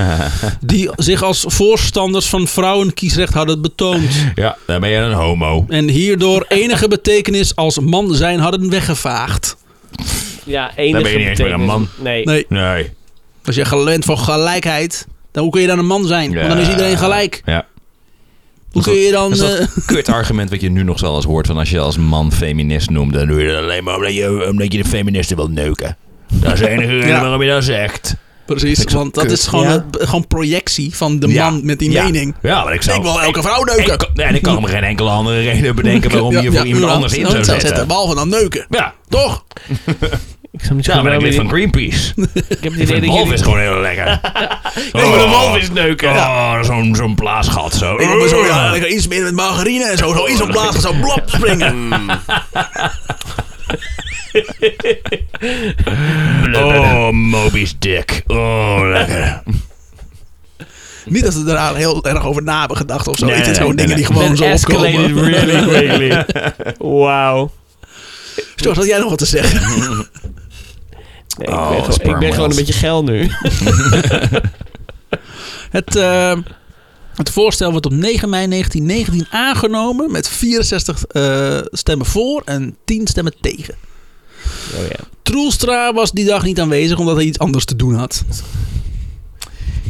A: die zich als voorstanders van vrouwenkiesrecht hadden betoond.
B: Ja, dan ben je een homo.
A: En hierdoor enige betekenis als man zijn hadden weggevaagd.
C: Ja, enige
B: Dan ben je niet eens meer een
C: betekenis. Nee.
A: Nee,
B: Nee.
A: als je gewend van gelijkheid, dan hoe kun je dan een man zijn? Want dan is
B: Ja.
A: iedereen gelijk.
B: Ja.
A: Hoe kun je dan...
B: Dat is
A: eh,
B: dat kut argument wat je nu nog wel eens hoort. Van als je als man feminist noemt, dan doe je dat alleen maar omdat je, omdat je de feministen wil neuken. Dat is
A: [LAUGHS]
B: de enige reden
A: Ja.
B: waarom je dat zegt.
A: Precies,
B: Vind ik zo
A: want dat
B: kut.
A: is gewoon,
C: Ja.
A: het- gewoon projectie van de
B: Ja.
A: man met die
B: Ja.
A: mening.
B: Ja, maar ik zou...
A: Ik wil elke vrouw
B: ik
A: neuken.
B: kan- en ik kan om geen enkele andere reden bedenken waarom je voor iemand anders in zou zetten.
A: Behalve dan neuken.
B: Ja,
A: Toch?
C: Ik snap niet zo
B: ja
C: goed
B: maar ik
C: waarom
B: lid van
C: jullie-
A: [LAUGHS]
B: Greenpeace.
C: Ik
B: Ik
C: heb het idee
B: vind
C: dat
B: walvis
C: jullie...
B: gewoon heel lekker.
C: Ik wil een walvis neuken.
B: Oh, zo'n zo'n plaasgat zo.
A: Ik wil me zo ja, lekker insmeren met margarine en zo. Zo in zo'n blaas, zo blop
B: [LAUGHS]
A: springen.
B: Oh, Moby's dick. Oh,
A: [LAUGHS]
B: lekker.
A: Niet dat ze daar heel erg over na hebben gedacht of zo.
B: Nee,
A: Weet je,
B: nee,
A: gewoon
B: nee,
A: dingen
B: nee.
A: die gewoon
C: That
A: zo
C: escalated
A: opkomen.
C: really quickly. Wauw.
A: George, had jij nog wat te zeggen?
C: Nee,
B: Oh,
C: ik ben, gewoon, ik ben
B: spermwhales.
C: gewoon een beetje geil nu.
A: Het, eh, het voorstel wordt op 9 mei 1919 aangenomen met 64 eh, stemmen voor en 10 stemmen tegen.
C: Oh ja.
A: Troelstra was die dag niet aanwezig omdat hij iets anders te doen had.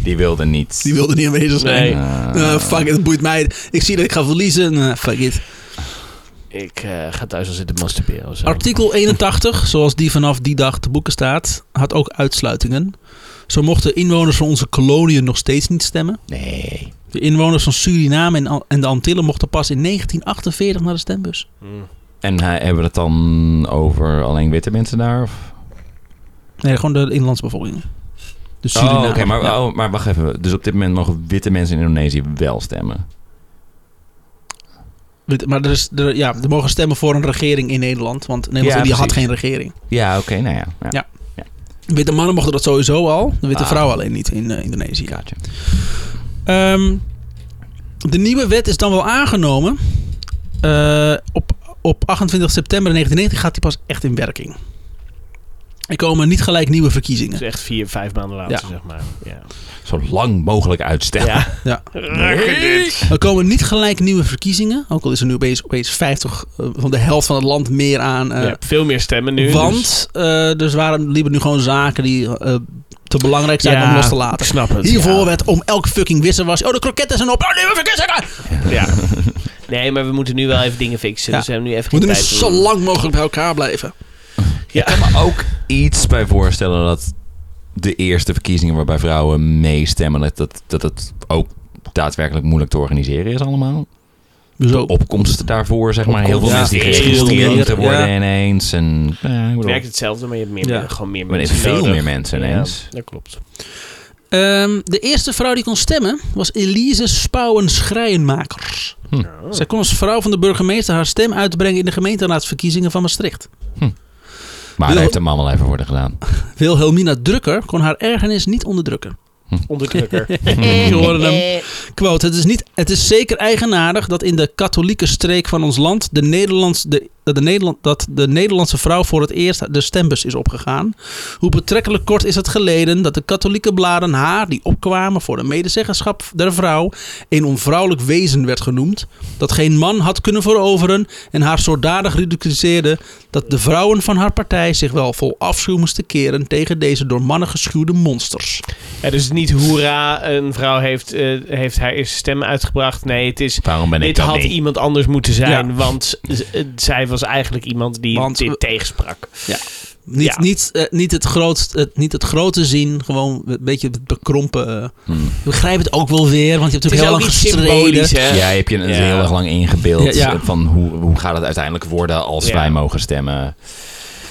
B: Die wilde niet.
A: [LAUGHS]
B: Ah,
A: Die wilde niet aanwezig zijn.
C: Nee.
A: Eh, fuck it, het boeit mij. Ik zie dat ik ga verliezen. Eh, fuck it.
C: Ik eh, ga thuis al zitten masturberen of zo.
A: Artikel 81, zoals die vanaf die dag te boeken staat, had ook uitsluitingen. Zo mochten inwoners van onze koloniën nog steeds niet stemmen.
B: Nee.
A: De inwoners van Suriname en, Al- en de Antillen mochten pas in 1948 naar de stembus.
B: En hij, hebben we het dan over alleen witte mensen daar? Of?
A: Nee, gewoon de inlandsbevolking. Dus
B: Oh,
A: Suriname.
B: oké, maar,
A: ja.
B: oh, maar wacht even. Dus op dit moment mogen witte mensen in Indonesië wel stemmen.
A: Weet- maar er, is, er, ja, er mogen stemmen voor een regering in Nederland, want Nederland
B: Ja,
A: die had
B: precies.
A: geen regering.
B: Ja, oké, nou ja. ja.
A: Ja. Witte mannen mochten dat sowieso al, de
C: Ah.
A: witte vrouwen alleen niet in eh, Indonesië.
B: Kaartje.
A: Ehm, de nieuwe wet is dan wel aangenomen. Eh, op, op 28 september 1990 gaat die pas echt in werking. Er komen niet gelijk nieuwe verkiezingen.
C: Het is echt vier, vijf maanden later,
A: Ja.
C: zeg maar. Ja.
B: Zo lang mogelijk uitstellen.
C: ja.
A: Ja.
C: Rukken dit.
A: Er komen niet gelijk nieuwe verkiezingen. Ook al is er nu opeens, opeens 50 eh, van de helft van het land meer aan. eh,
C: Je hebt veel meer stemmen nu. dus-
A: want eh dus waren liepen nu gewoon zaken die eh, te belangrijk zijn om los te laten.
C: ik snap het.
A: Hiervoor
C: ja.
A: werd om elk fucking wissel was. Oh, de kroketten zijn op. Oh, nieuwe verkiezingen!
C: Ja. Nee, maar we moeten nu wel even dingen fixen.
A: Ja.
C: Dus we hebben nu even
A: We moeten nu
C: geen tijd
A: zo
C: voor.
A: lang mogelijk bij elkaar blijven.
C: Ja.
B: Ik kan me [LAUGHS] ook iets bij voorstellen dat de eerste verkiezingen waarbij vrouwen meestemmen, dat, dat, dat het ook daadwerkelijk moeilijk te organiseren is allemaal.
A: Zo.
B: Opkomsten daarvoor, zeg maar. Heel veel
A: Ja.
B: mensen die
C: Heel
B: geregistreerd
A: veel.
B: moeten worden
A: Ja.
B: ineens. En, ja, ik
C: Het
B: bedoel,
C: werkt hetzelfde, maar je hebt meer,
A: Ja.
C: gewoon meer
B: maar er
C: mensen
B: zijn veel
C: nodig.
B: meer mensen ineens.
C: Ja, dat klopt.
A: Ehm, de eerste vrouw die kon stemmen was Elise Spouwen Schrijenmakers. Zij kon als vrouw van de burgemeester haar stem uitbrengen in de gemeenteraadsverkiezingen van Maastricht.
B: Maar
A: Wil-
B: daar heeft de man wel even worden gedaan.
A: Wilhelmina Drukker kon haar ergernis niet onderdrukken.
C: Onderdrukker.
A: Je hoorde hem. Quote, het is, niet, het is zeker eigenaardig dat in de katholieke streek van ons land de, Nederlands, de, dat de, Nederland, dat de Nederlandse vrouw voor het eerst de stembus is opgegaan. Hoe betrekkelijk kort is het geleden dat de katholieke bladen haar, die opkwamen voor de medezeggenschap der vrouw, een onvrouwelijk wezen werd genoemd, dat geen man had kunnen veroveren en haar zodanig ridiculiseerde dat de vrouwen van haar partij zich wel vol afschuw moesten keren tegen deze door mannen geschuwde monsters.
C: ja, dus niet hoera, een vrouw heeft, eh, heeft haar eerste stem uitgebracht. Nee, het is...
B: Waarom ben ik
C: Dit
B: dan
C: had
B: niet?
C: iemand anders moeten zijn,
A: Ja.
C: want z- eh, zij was eigenlijk iemand die
A: Want we-
C: dit tegensprak.
A: Niet,
C: Ja.
A: niet, eh, niet, het grootst, het, niet het grote zien, gewoon een beetje het bekrompen. eh.
B: Hmm.
A: Ik begrijp het ook wel weer, want je hebt
C: Het is
A: natuurlijk
C: ook iets
A: heel lang gestreden.
C: symbolisch, hè?
B: Ja, heb je een
C: Ja.
B: heel erg lang ingebeeld
A: Ja, ja.
B: van hoe, hoe gaat het uiteindelijk worden als
C: Ja.
B: wij mogen stemmen.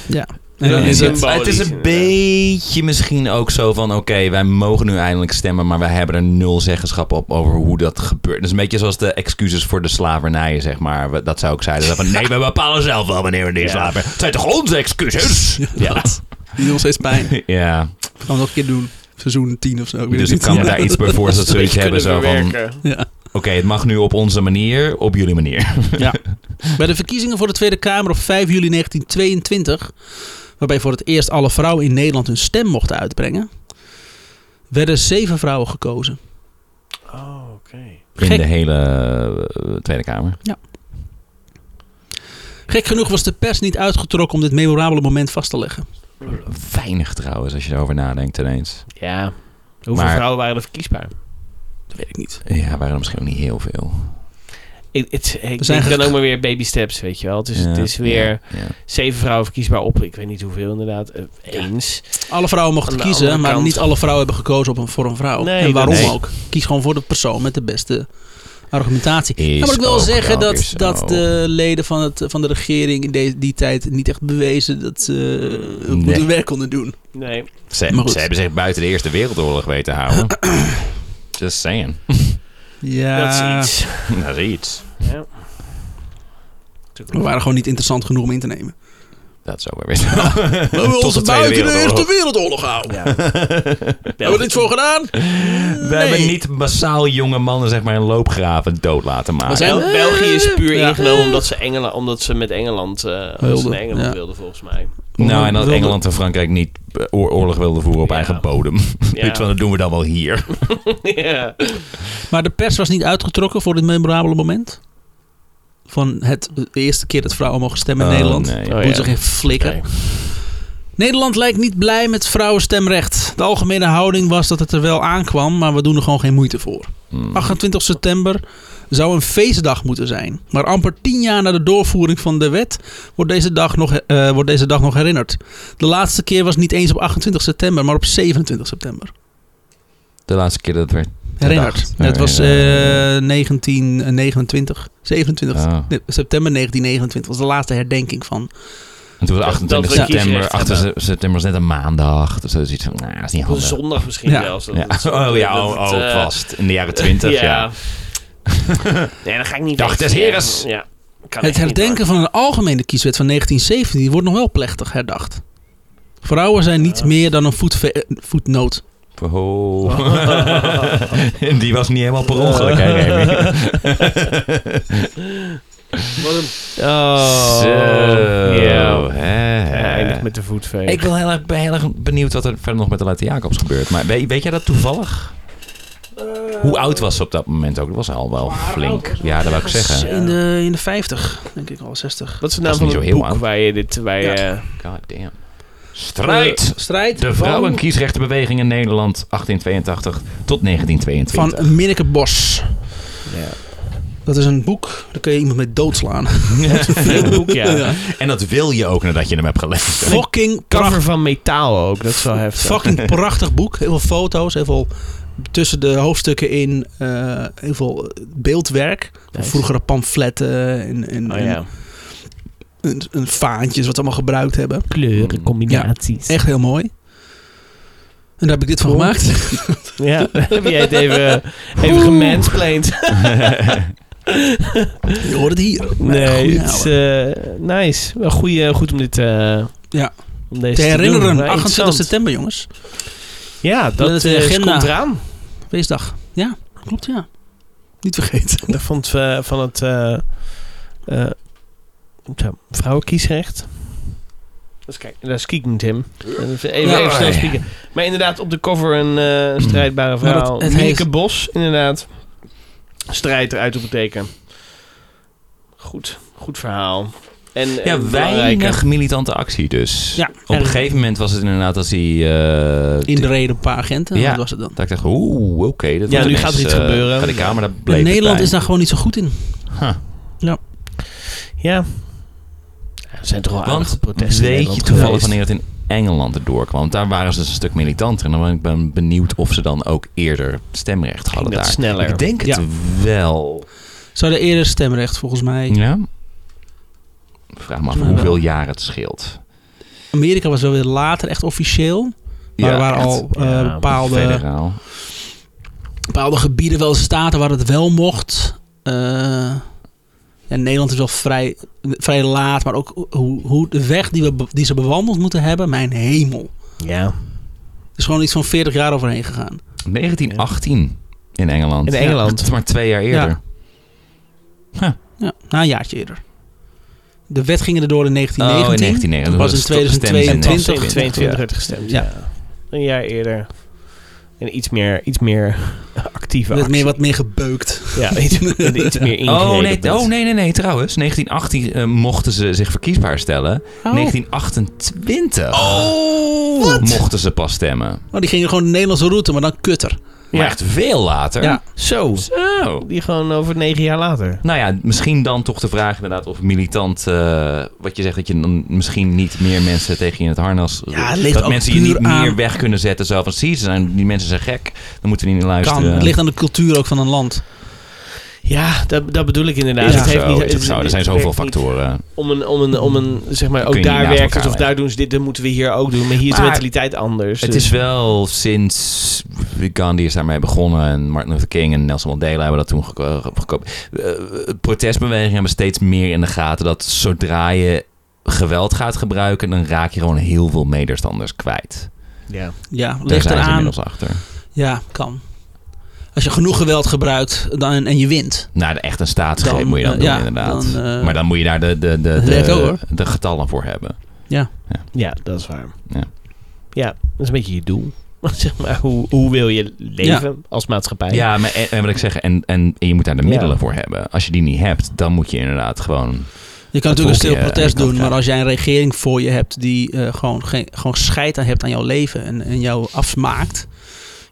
A: Ja. En dan
C: Ja,
A: is
C: ja.
A: het,
B: het is een
C: inderdaad.
B: beetje misschien ook zo van... oké, wij mogen nu eindelijk stemmen... maar wij hebben er nul zeggenschap op over hoe dat gebeurt. Dat is een beetje zoals de excuses voor de slavernij, zeg maar. We- Dat zou ik zeiden. Dat van, nee, we bepalen zelf wel wanneer we die
C: Ja.
B: slaven... Het zijn toch onze excuses?
A: ja. Die doet nog steeds pijn.
B: Ja,
A: Gaan we nog een keer doen. Seizoen 10 of zo. ik weet
B: dus
A: het
B: ik kan me
A: [LAUGHS] niet.
B: daar iets bij voorstellen... dat ze zoiets hebben zo van...
A: Ja.
B: Oké, het mag nu op onze manier, op jullie manier.
A: Ja. Bij de verkiezingen voor de Tweede Kamer op 5 juli 1922, waarbij voor het eerst alle vrouwen in Nederland hun stem mochten uitbrengen, werden zeven vrouwen gekozen.
C: Oh, oké.
B: In
A: Gek.
B: de hele eh, Tweede Kamer.
A: Gek genoeg was de pers niet uitgetrokken om dit memorabele moment vast te leggen.
B: Weinig trouwens, als je erover nadenkt ineens.
C: Ja. Hoeveel
B: Maar-
C: vrouwen waren er verkiesbaar?
A: Dat weet ik niet.
B: Ja, waren er misschien ook niet heel veel.
C: Ik, het, ik
A: We zijn
C: denk dan
A: ge-
C: ook maar weer baby steps, weet je wel. Dus het
B: Ja,
C: is weer
B: ja, ja.
C: zeven vrouwen verkiesbaar op. Ik weet niet hoeveel inderdaad. eh, Eens.
A: Alle vrouwen mochten
C: Aan de
A: kiezen,
C: andere
A: maar
C: kant.
A: niet alle vrouwen hebben gekozen op een, voor een vrouw.
C: Nee,
A: en
C: dat-
A: waarom
B: nee.
A: ook? Kies gewoon voor de persoon met de beste argumentatie.
B: Is
A: Dan moet ik wel
B: ook
A: zeggen
B: wel weer
A: dat,
B: zo.
A: dat eh, de leden van, het, van de regering in de- die tijd niet echt bewezen dat ze eh, goed
B: Nee.
A: hun werk konden doen.
C: Nee.
A: Maar
B: Ze,
A: goed.
B: ze hebben zich buiten de Eerste Wereldoorlog weten te houden.
A: [CLEARS THROAT]
B: Just saying. [LAUGHS] Eh.
A: Ja,
C: Dat is iets.
B: Dat is iets.
C: [LAUGHS] Ja.
A: we waren gewoon niet interessant genoeg om in te
C: [LAUGHS]
A: nemen.
B: Dat is ook wel weer zo.
A: We hebben ons
B: de Tweede
A: buiten de
B: Wereldoorlog.
A: Eerste Wereldoorlog houden.
C: Ja.
B: Oh,
A: Hebben we er iets voor gedaan?
B: We hebben niet massaal jonge mannen zeg maar in loopgraven dood laten maken.
A: zijn-
C: Ah, Bel- België is puur
A: Ja.
C: ingenomen omdat ze, Engela- omdat ze met Engeland, eh omdat ze
A: Wilden,
C: naar Engeland
A: ja.
C: wilden, volgens mij.
B: Nou, en dat
A: Wilde-
B: Engeland en Frankrijk niet eh, oor- oorlog wilden voeren op
C: Ja.
B: eigen bodem.
C: Ja.
B: [LAUGHS] [LAUGHS] Weet je wel, dat doen we dan wel hier.
C: [LAUGHS] ja.
A: Maar de pers was niet uitgetrokken voor dit memorabele moment. Van het eh, de eerste keer dat vrouwen mogen stemmen in
B: Oh,
A: Nederland.
B: nee.
A: Boeit
C: Oh, ja.
A: zich geen flikker.
C: Nee.
A: Nederland lijkt niet blij met vrouwenstemrecht. De algemene houding was dat het er wel aankwam, maar we doen er gewoon geen moeite voor.
B: Hmm.
A: 28 september zou een feestdag moeten zijn. Maar amper tien jaar na de doorvoering van de wet wordt deze dag nog, eh, wordt deze dag nog herinnerd. De laatste keer was niet eens op 28 september, maar op 27 september.
B: De laatste keer dat het werd.
A: Herinnerd.
B: Ja,
A: Het was eh,
B: ja,
A: 1929, 27
B: Ah.
A: Nee, september 1929 was de laatste herdenking van.
B: En toen was
C: Dat-
B: 28
C: dat we
B: september.
C: kiesrecht
B: 8 se- september was net een maandag. Dus dat is iets van, nou, dat is niet
C: Op een
B: handig.
C: zondag misschien
A: Ja.
C: zelfs. dat
B: Ja. [LAUGHS]
C: het zo-
B: Oh ja,
C: dat
B: oh,
C: het,
B: oh,
C: eh,
B: vast. In de jaren 20, ja.
C: [LAUGHS] Ja. nee, dat ga ik niet
B: Dag
C: weten.
B: des heres.
C: Ja.
A: Het
C: Kan echt niet, [LAUGHS]
A: herdenken van een algemene kieswet van 1917 wordt nog wel plechtig herdacht. Vrouwen zijn niet meer dan een voetve- eh, voetnoot.
B: Oh. [LAUGHS] Die was niet helemaal per ongeluk, hè,
C: [LAUGHS]
B: Remy? [LAUGHS]
C: hoor. Oh.
B: Zo,
C: Ja.
B: hè, hè.
C: Hij eindigt met de voetveeg.
B: Ik ben heel erg, ben heel erg benieuwd wat er verder nog met de Latte Jacobs gebeurt. Maar weet, weet jij dat toevallig? Hoe oud was ze op dat moment ook? Dat was al wel flink. Ja, dat wou ik zeggen.
A: In de, in de 50, denk ik al, 60.
C: Wat is de
B: Dat
C: naam
B: is
C: van
B: niet
C: het
B: zo heel
C: boek
B: oud.
C: waar je dit... Waar je,
B: God damn. Strijd!
A: Eh, strijd
B: De vrouwenkiesrechtenbeweging in Nederland 1882 tot
A: Van,
B: 1922.
A: van Minneke Bos.
C: ja.
A: Dat is een boek, daar kun je iemand mee doodslaan. [LAUGHS]
C: Flink boek, ja.
A: Ja.
B: En dat wil je ook nadat je hem hebt gelezen.
A: Fucking,
C: Cover
A: pracht,
C: van metaal ook, dat is wel heftig.
A: fucking prachtig boek. Heel veel foto's, heel veel tussen de hoofdstukken in, eh, heel veel beeldwerk. Van
C: Nice.
A: Vroegere pamfletten en, en,
C: Oh ja.
A: en- en- en vaantjes wat ze allemaal gebruikt hebben.
C: Kleuren, combinaties.
A: Echt heel mooi. En daar heb ik dit van
C: Cool.
A: gemaakt.
C: [LAUGHS] Ja,
B: [LAUGHS]
C: dan heb jij het even, eh, even gemansplained.
A: Je hoort het hier.
C: Nee,
A: Goeie
C: het is
A: ouwe.
C: eh, nice. Wel goeie, goed om dit... eh,
A: Nou, Ja.
C: om deze
A: te
C: doen.
A: herinneren,
C: Ja,
A: 28
C: interessant.
A: september jongens.
C: Ja,
A: Dat
C: dat
A: is de
C: eh,
A: agenda.
C: komt eraan.
A: Feestdag. Ja, klopt ja. Niet vergeten.
C: Dat vond eh, van het eh, eh, ja, vrouwenkiesrecht. Dat is, kijk, dat is Kieken Tim. Even, even,
A: Ja.
C: even snel spieken. Maar inderdaad, op de cover een eh, strijdbare
A: Maar dat-
C: vrouw.
A: het
C: Mieke
A: heeft-
C: Bos, inderdaad. Strijd eruit op het teken. Goed, goed verhaal. En,
B: Ja,
C: en belangrijke.
B: weinig militante actie dus.
A: Ja.
B: Op een
A: En-
B: gegeven moment was het inderdaad als hij... eh,
A: In de reden een paar agenten.
B: Ja.
A: Dat was het dan.
B: Dat ik dacht, oeh, oké. dat
C: Ja,
B: wordt
C: nu
B: ineens,
C: gaat er iets
B: eh,
C: gebeuren.
B: Bij de Kamer, dat bleef
A: En
B: het
A: Nederland
B: bij.
A: is daar gewoon niet zo goed in.
B: Huh.
C: Ja. Ja, Er zijn toch wel aardige
B: Want
C: protesten
B: weet
C: in
B: je
C: Nederland
B: toevallig
C: geweest.
B: wanneer het in Engeland erdoor kwam? Want daar waren ze dus een stuk militanter. En dan ben ik ben benieuwd of ze dan ook eerder stemrecht hadden
C: Ging dat
B: daar.
C: sneller?
B: Ik denk het
A: Ja.
B: wel.
A: Ze hadden eerder stemrecht volgens mij.
B: Ja? Ik Vraag me af
A: Ja.
B: hoeveel jaar het scheelt.
A: Amerika was wel weer later echt officieel. Maar er waren
B: echt.
A: al eh,
C: Ja,
A: bepaalde,
B: Federaal.
A: bepaalde gebieden, wel staten waar het wel mocht. Eh, en Nederland is wel vrij, vrij laat. Maar ook hoe, hoe de weg die, we, be- die ze bewandeld moeten hebben. Mijn hemel.
C: Ja.
A: Er is gewoon iets van 40 jaar overheen gegaan.
B: 1918 In Engeland.
C: In
B: Ja,
C: Engeland.
B: dat is maar twee jaar eerder.
A: Ja, na een jaartje eerder. De wet ging erdoor in
B: Oh, in
A: 1919. Pas in
B: 1990. Dat was de
A: 2022.
B: 20,
C: 22
B: ja.
C: werd gestemd.
A: Ja.
C: Ja. Een jaar eerder. En iets meer, iets meer [LAUGHS] actieve
A: werd
C: actie.
A: meer, wat meer gebeukt.
B: [LAUGHS]
C: Ja, iets, iets meer ingereden.
B: Oh nee,
C: bent.
B: oh nee, nee, nee, trouwens. 1918 eh, mochten ze zich verkiesbaar stellen. 1928
A: Oh, wat?
B: mochten ze pas stemmen.
A: Oh, die gingen gewoon de Nederlandse route, maar dan kutter.
B: Maar
C: Ja.
B: echt veel later.
A: Ja.
C: Zo.
B: Zo.
C: Die gewoon over negen jaar later.
B: Nou ja, misschien dan toch de vraag inderdaad of militant... eh, wat je zegt, dat je dan misschien niet meer mensen tegen je in het harnas...
A: Ja, het ligt
B: dat
A: ook
B: mensen je niet
A: puur aan-
B: meer weg kunnen zetten. Zo van, zie, ze zijn, die mensen zijn gek. Dan moeten we niet naar
A: Kan.
B: luisteren.
A: Het ligt aan de cultuur ook van een land.
C: Ja, dat, dat bedoel ik inderdaad.
B: Is
C: Het
B: ook
C: heeft
B: zo, is
C: niet-
B: ook
C: het-
B: zo. Er
C: het
B: zijn zoveel
C: werkt niet.
B: factoren.
C: Om een, om een, om een zeg maar,
B: kun
C: ook
B: je niet
C: daar
B: naast
C: werkt het.
B: elkaar
C: Of daar doen ze dit, dan moeten we hier ook doen. Maar hier is de
B: Maar-
C: mentaliteit anders.
B: Het
C: dus-
B: is wel sinds Gandhi is daarmee begonnen en Martin Luther King en Nelson Mandela hebben dat toen geko- gekopen. Eh, protestbewegingen hebben steeds meer in de gaten dat zodra je geweld gaat gebruiken, dan raak je gewoon heel veel medestanders kwijt.
C: ja.
A: Ja,
B: Daar
A: ligt
B: zijn ze
A: eraan.
B: inmiddels achter.
A: Ja, kan. Als je genoeg geweld gebruikt dan, en je wint.
B: Nou, de- echt een staatsgreep
A: Dan,
B: moet je dan
A: eh,
B: doen,
A: ja,
B: inderdaad.
A: dan, eh,
B: maar dan moet je daar de, de, de,
A: dat werkt ook,
B: de,
A: hoor.
B: de getallen voor hebben.
C: ja, dat is waar.
B: Ja.
C: Ja, dat is een beetje je doel. [LAUGHS] zeg maar, hoe, hoe wil je leven als maatschappij?
B: Ja, maar en, en wat ik zeg, en, en, en je moet daar de
C: Ja.
B: middelen voor hebben. Als je die niet hebt, dan moet je inderdaad gewoon
A: Je kan natuurlijk een
B: Dat volk,
A: stil
B: ja,
A: protest
B: dat
A: doen,
B: kan.
A: maar als jij een regering voor je hebt die eh, gewoon, geen, gewoon scheid aan hebt aan jouw leven en, en jou afmaakt.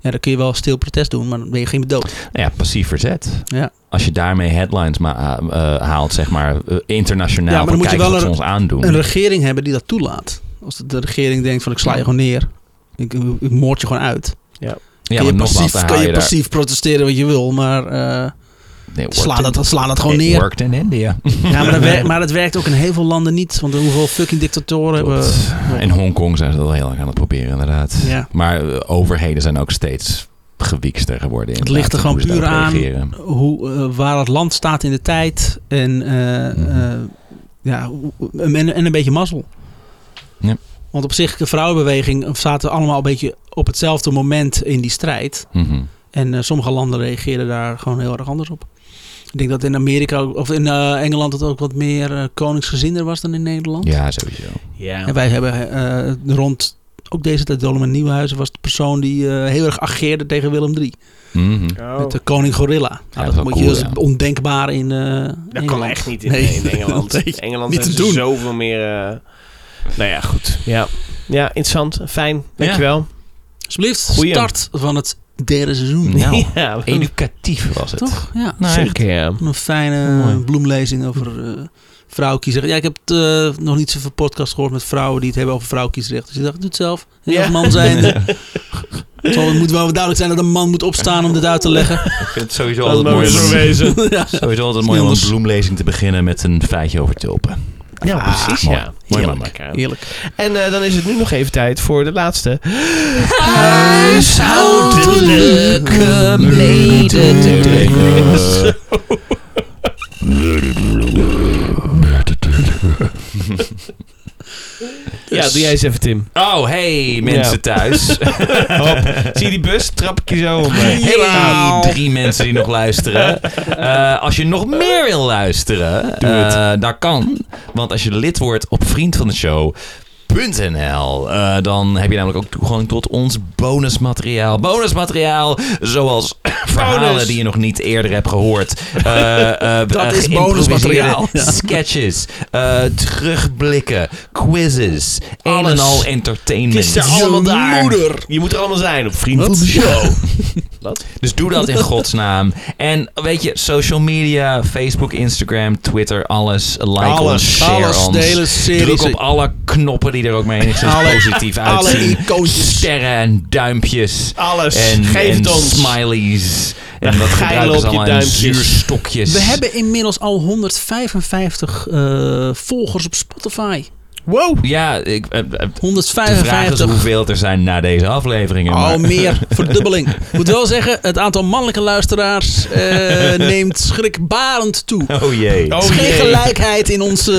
A: Ja, dan kun je wel stil protest doen, maar dan ben je geen dood.
B: Nou ja, passief verzet.
A: Ja.
B: Als je daarmee headlines ma- eh, haalt, zeg maar, eh, internationaal.
A: Ja, maar dan
B: van,
A: moet je
B: kijk
A: wel
B: wat ze
A: een-
B: ons aandoen.
A: Een regering hebben die dat toelaat. Als de regering denkt van ik sla je gewoon neer. Ik, ik moord je gewoon uit.
B: ja,
A: kun
B: maar
A: je
B: nogmaals,
A: passief,
B: dan
A: kun
B: haal
A: je
B: daar-
A: passief protesteren wat je wil, maar eh,
B: Nee, it
A: sla,
B: worked
A: dat, sla dat gewoon
B: in- it
A: neer.
B: worked in India.
A: Ja,
B: [LAUGHS]
A: maar dat, werkt, maar dat werkt ook in heel veel landen niet. Want hoeveel fucking dictatoren hebben
B: Klopt.
A: we-
B: In Hongkong zijn ze dat al heel lang aan het proberen, inderdaad.
A: Ja.
B: Maar eh, overheden zijn ook steeds gewiekster geworden.
A: Het
B: inderdaad,
A: ligt er gewoon
B: hoe ze
A: puur
B: daarop
A: aan.
B: reageren.
A: hoe, eh, waar het land staat in de tijd. En, eh,
B: Mhm.
A: eh, ja, hoe- en, en een beetje mazzel.
B: Ja.
A: Want op zich, de vrouwenbeweging zaten allemaal een beetje op hetzelfde moment in die strijd.
B: Mhm.
A: En eh, sommige landen reageerden daar gewoon heel erg anders op. Ik denk dat in Amerika ook- of in eh, Engeland het ook wat meer eh, koningsgezinder was dan in Nederland.
B: Ja, sowieso.
C: Ja.
A: En wij hebben eh, rond ook deze tijd Dolman Nieuwenhuizen was de persoon die eh, heel erg ageerde tegen Willem III.
B: Mhm.
C: Oh.
A: Met de koning Gorilla. Nou,
B: Ja, dat
A: dat
B: is wel
A: moet
B: cool,
A: je dat is
B: ja.
A: ondenkbaar in eh
C: Dat
A: Engeland.
C: kan echt niet in,
A: Nee.
C: in Engeland.
A: Nee,
C: In Engeland
A: niet te
C: hebben ze
A: doen.
C: zoveel meer... eh, nou ja, goed. Ja, ja interessant. Fijn. Dankjewel.
A: Alsjeblieft,
C: Goeie.
A: start van het derde seizoen.
B: Nou,
C: [LAUGHS]
B: [LAUGHS]
C: Ja,
B: educatief was het.
A: Toch? Ja.
C: nou,
A: Zeker.
C: zeker. Ja.
A: Een fijne
B: Oh, Mooi.
A: bloemlezing over eh vrouwenkiesrecht. Ja, ik heb eh, nog niet zoveel podcasts gehoord met vrouwen die het hebben over vrouwenkiesrecht. Dus ik dacht, doe het zelf. En
C: Ja.
A: Als man
B: [LAUGHS]
A: zijn. eh, Het moet wel duidelijk zijn dat een man moet opstaan om dit uit te leggen.
B: Ik vind het sowieso
C: Dat
B: altijd
C: mag
B: mooi.
C: zo
B: om-
C: wezen.
A: ja.
B: Sowieso altijd mooi om een bloemlezing te beginnen met een feitje over tulpen.
C: [LAUGHS] Ja, precies.
B: mooi.
C: Ja.
B: Mooi
C: Heerlijk.
B: mannelijk.
A: Heerlijk.
C: En eh, dan is het nu nog even tijd voor de laatste.
A: Huishoudelijke mededelingen.
C: Ja, doe jij eens even, Tim.
B: Oh, hey mensen
C: Ja.
B: thuis.
C: Hop. Zie je die bus? Trap ik je zo eh. op. hè?
B: Hey, drie mensen die nog luisteren. Eh, als je nog meer wil luisteren, eh dat kan. Want als je lid wordt op vriend van de show. eh, dan heb je namelijk ook toegang tot ons bonusmateriaal. Bonusmateriaal zoals [COUGHS] verhalen
C: Bonus.
B: die je nog niet eerder hebt gehoord. Eh, eh,
A: Dat is
B: geïmproviseerde
A: bonusmateriaal. Ja.
B: [LAUGHS] Sketches, eh, terugblikken, quizzes. Een en
C: Alles.
B: al
C: Het
B: entertainment.
C: is er allemaal daar.
A: moeder.
C: Je moet er allemaal zijn op Vriend
A: Wat?
C: van de Show.
B: Dus doe
C: [LAUGHS]
B: dat in godsnaam. En weet je, social media, Facebook, Instagram, Twitter, alles. Like
C: Alles,
B: ons, share
A: Alles,
B: ons.
A: de hele serie.
B: Druk op alle knoppen die er ook maar enigszins
A: Alle-
B: positief
A: alle
B: uitzien.
A: icoontjes.
B: Sterren en duimpjes.
C: Alles.
B: En,
C: Geef
B: en
C: het ons.
B: smileys. En
C: Een
B: dat
C: geil
B: gebruiken
C: op
B: ze
C: je
B: allemaal en
C: duimpjes.
B: zuurstokjes.
A: We hebben inmiddels al 155 eh, volgers op Spotify.
C: Wow.
B: Ja, ik, eh, eh, de vraag is
A: 155.
B: hoeveel er zijn na deze afleveringen.
A: Al
B: maar-
C: Oh, [LAUGHS]
A: meer verdubbeling. Ik moet wel zeggen, het aantal mannelijke luisteraars eh,
C: [LAUGHS]
A: neemt schrikbarend toe.
B: [LAUGHS] Oh jee.
A: Er is
C: Oh,
A: geen
C: jee.
A: gelijkheid in onze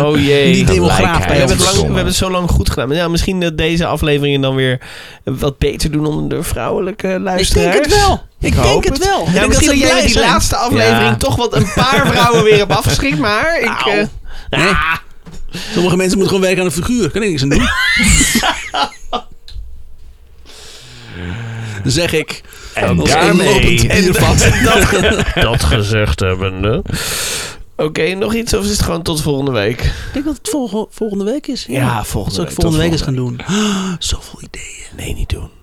A: eh,
C: Oh jee.
A: die demograaf
B: Gelijkheid.
A: bij
C: We
A: ons.
C: hebben, het lang, we
B: Verdomme.
C: hebben het zo lang goed gedaan. Maar ja, misschien dat deze afleveringen dan weer wat beter doen onder de vrouwelijke
A: Ik
C: luisteraars.
A: denk het wel. Ik
C: hoop
A: denk het wel. Ik
C: Ja,
A: denk
C: misschien dat
A: ze
C: jij
A: blij
C: met die
A: zijn.
C: laatste aflevering
B: Ja.
C: toch wat een paar vrouwen weer hebt afgeschrikt. Maar ik...
A: Au.
C: eh,
A: Nee. Sommige mensen moeten gewoon werken aan een figuur. Kan ik niks aan
C: [LAUGHS]
A: doen. Dan zeg ik.
C: En
A: als
C: daarmee-
A: inlopend biervat.
C: dat gezegd hebbende. Oké, nog iets of is het gewoon tot volgende week?
A: Ik denk dat het volgende, volgende week is.
C: Ja, volgende
A: Zal ik
C: week,
A: volgende
C: tot
A: week eens gaan doen. [GASPS] Zoveel ideeën.
C: Nee, niet doen.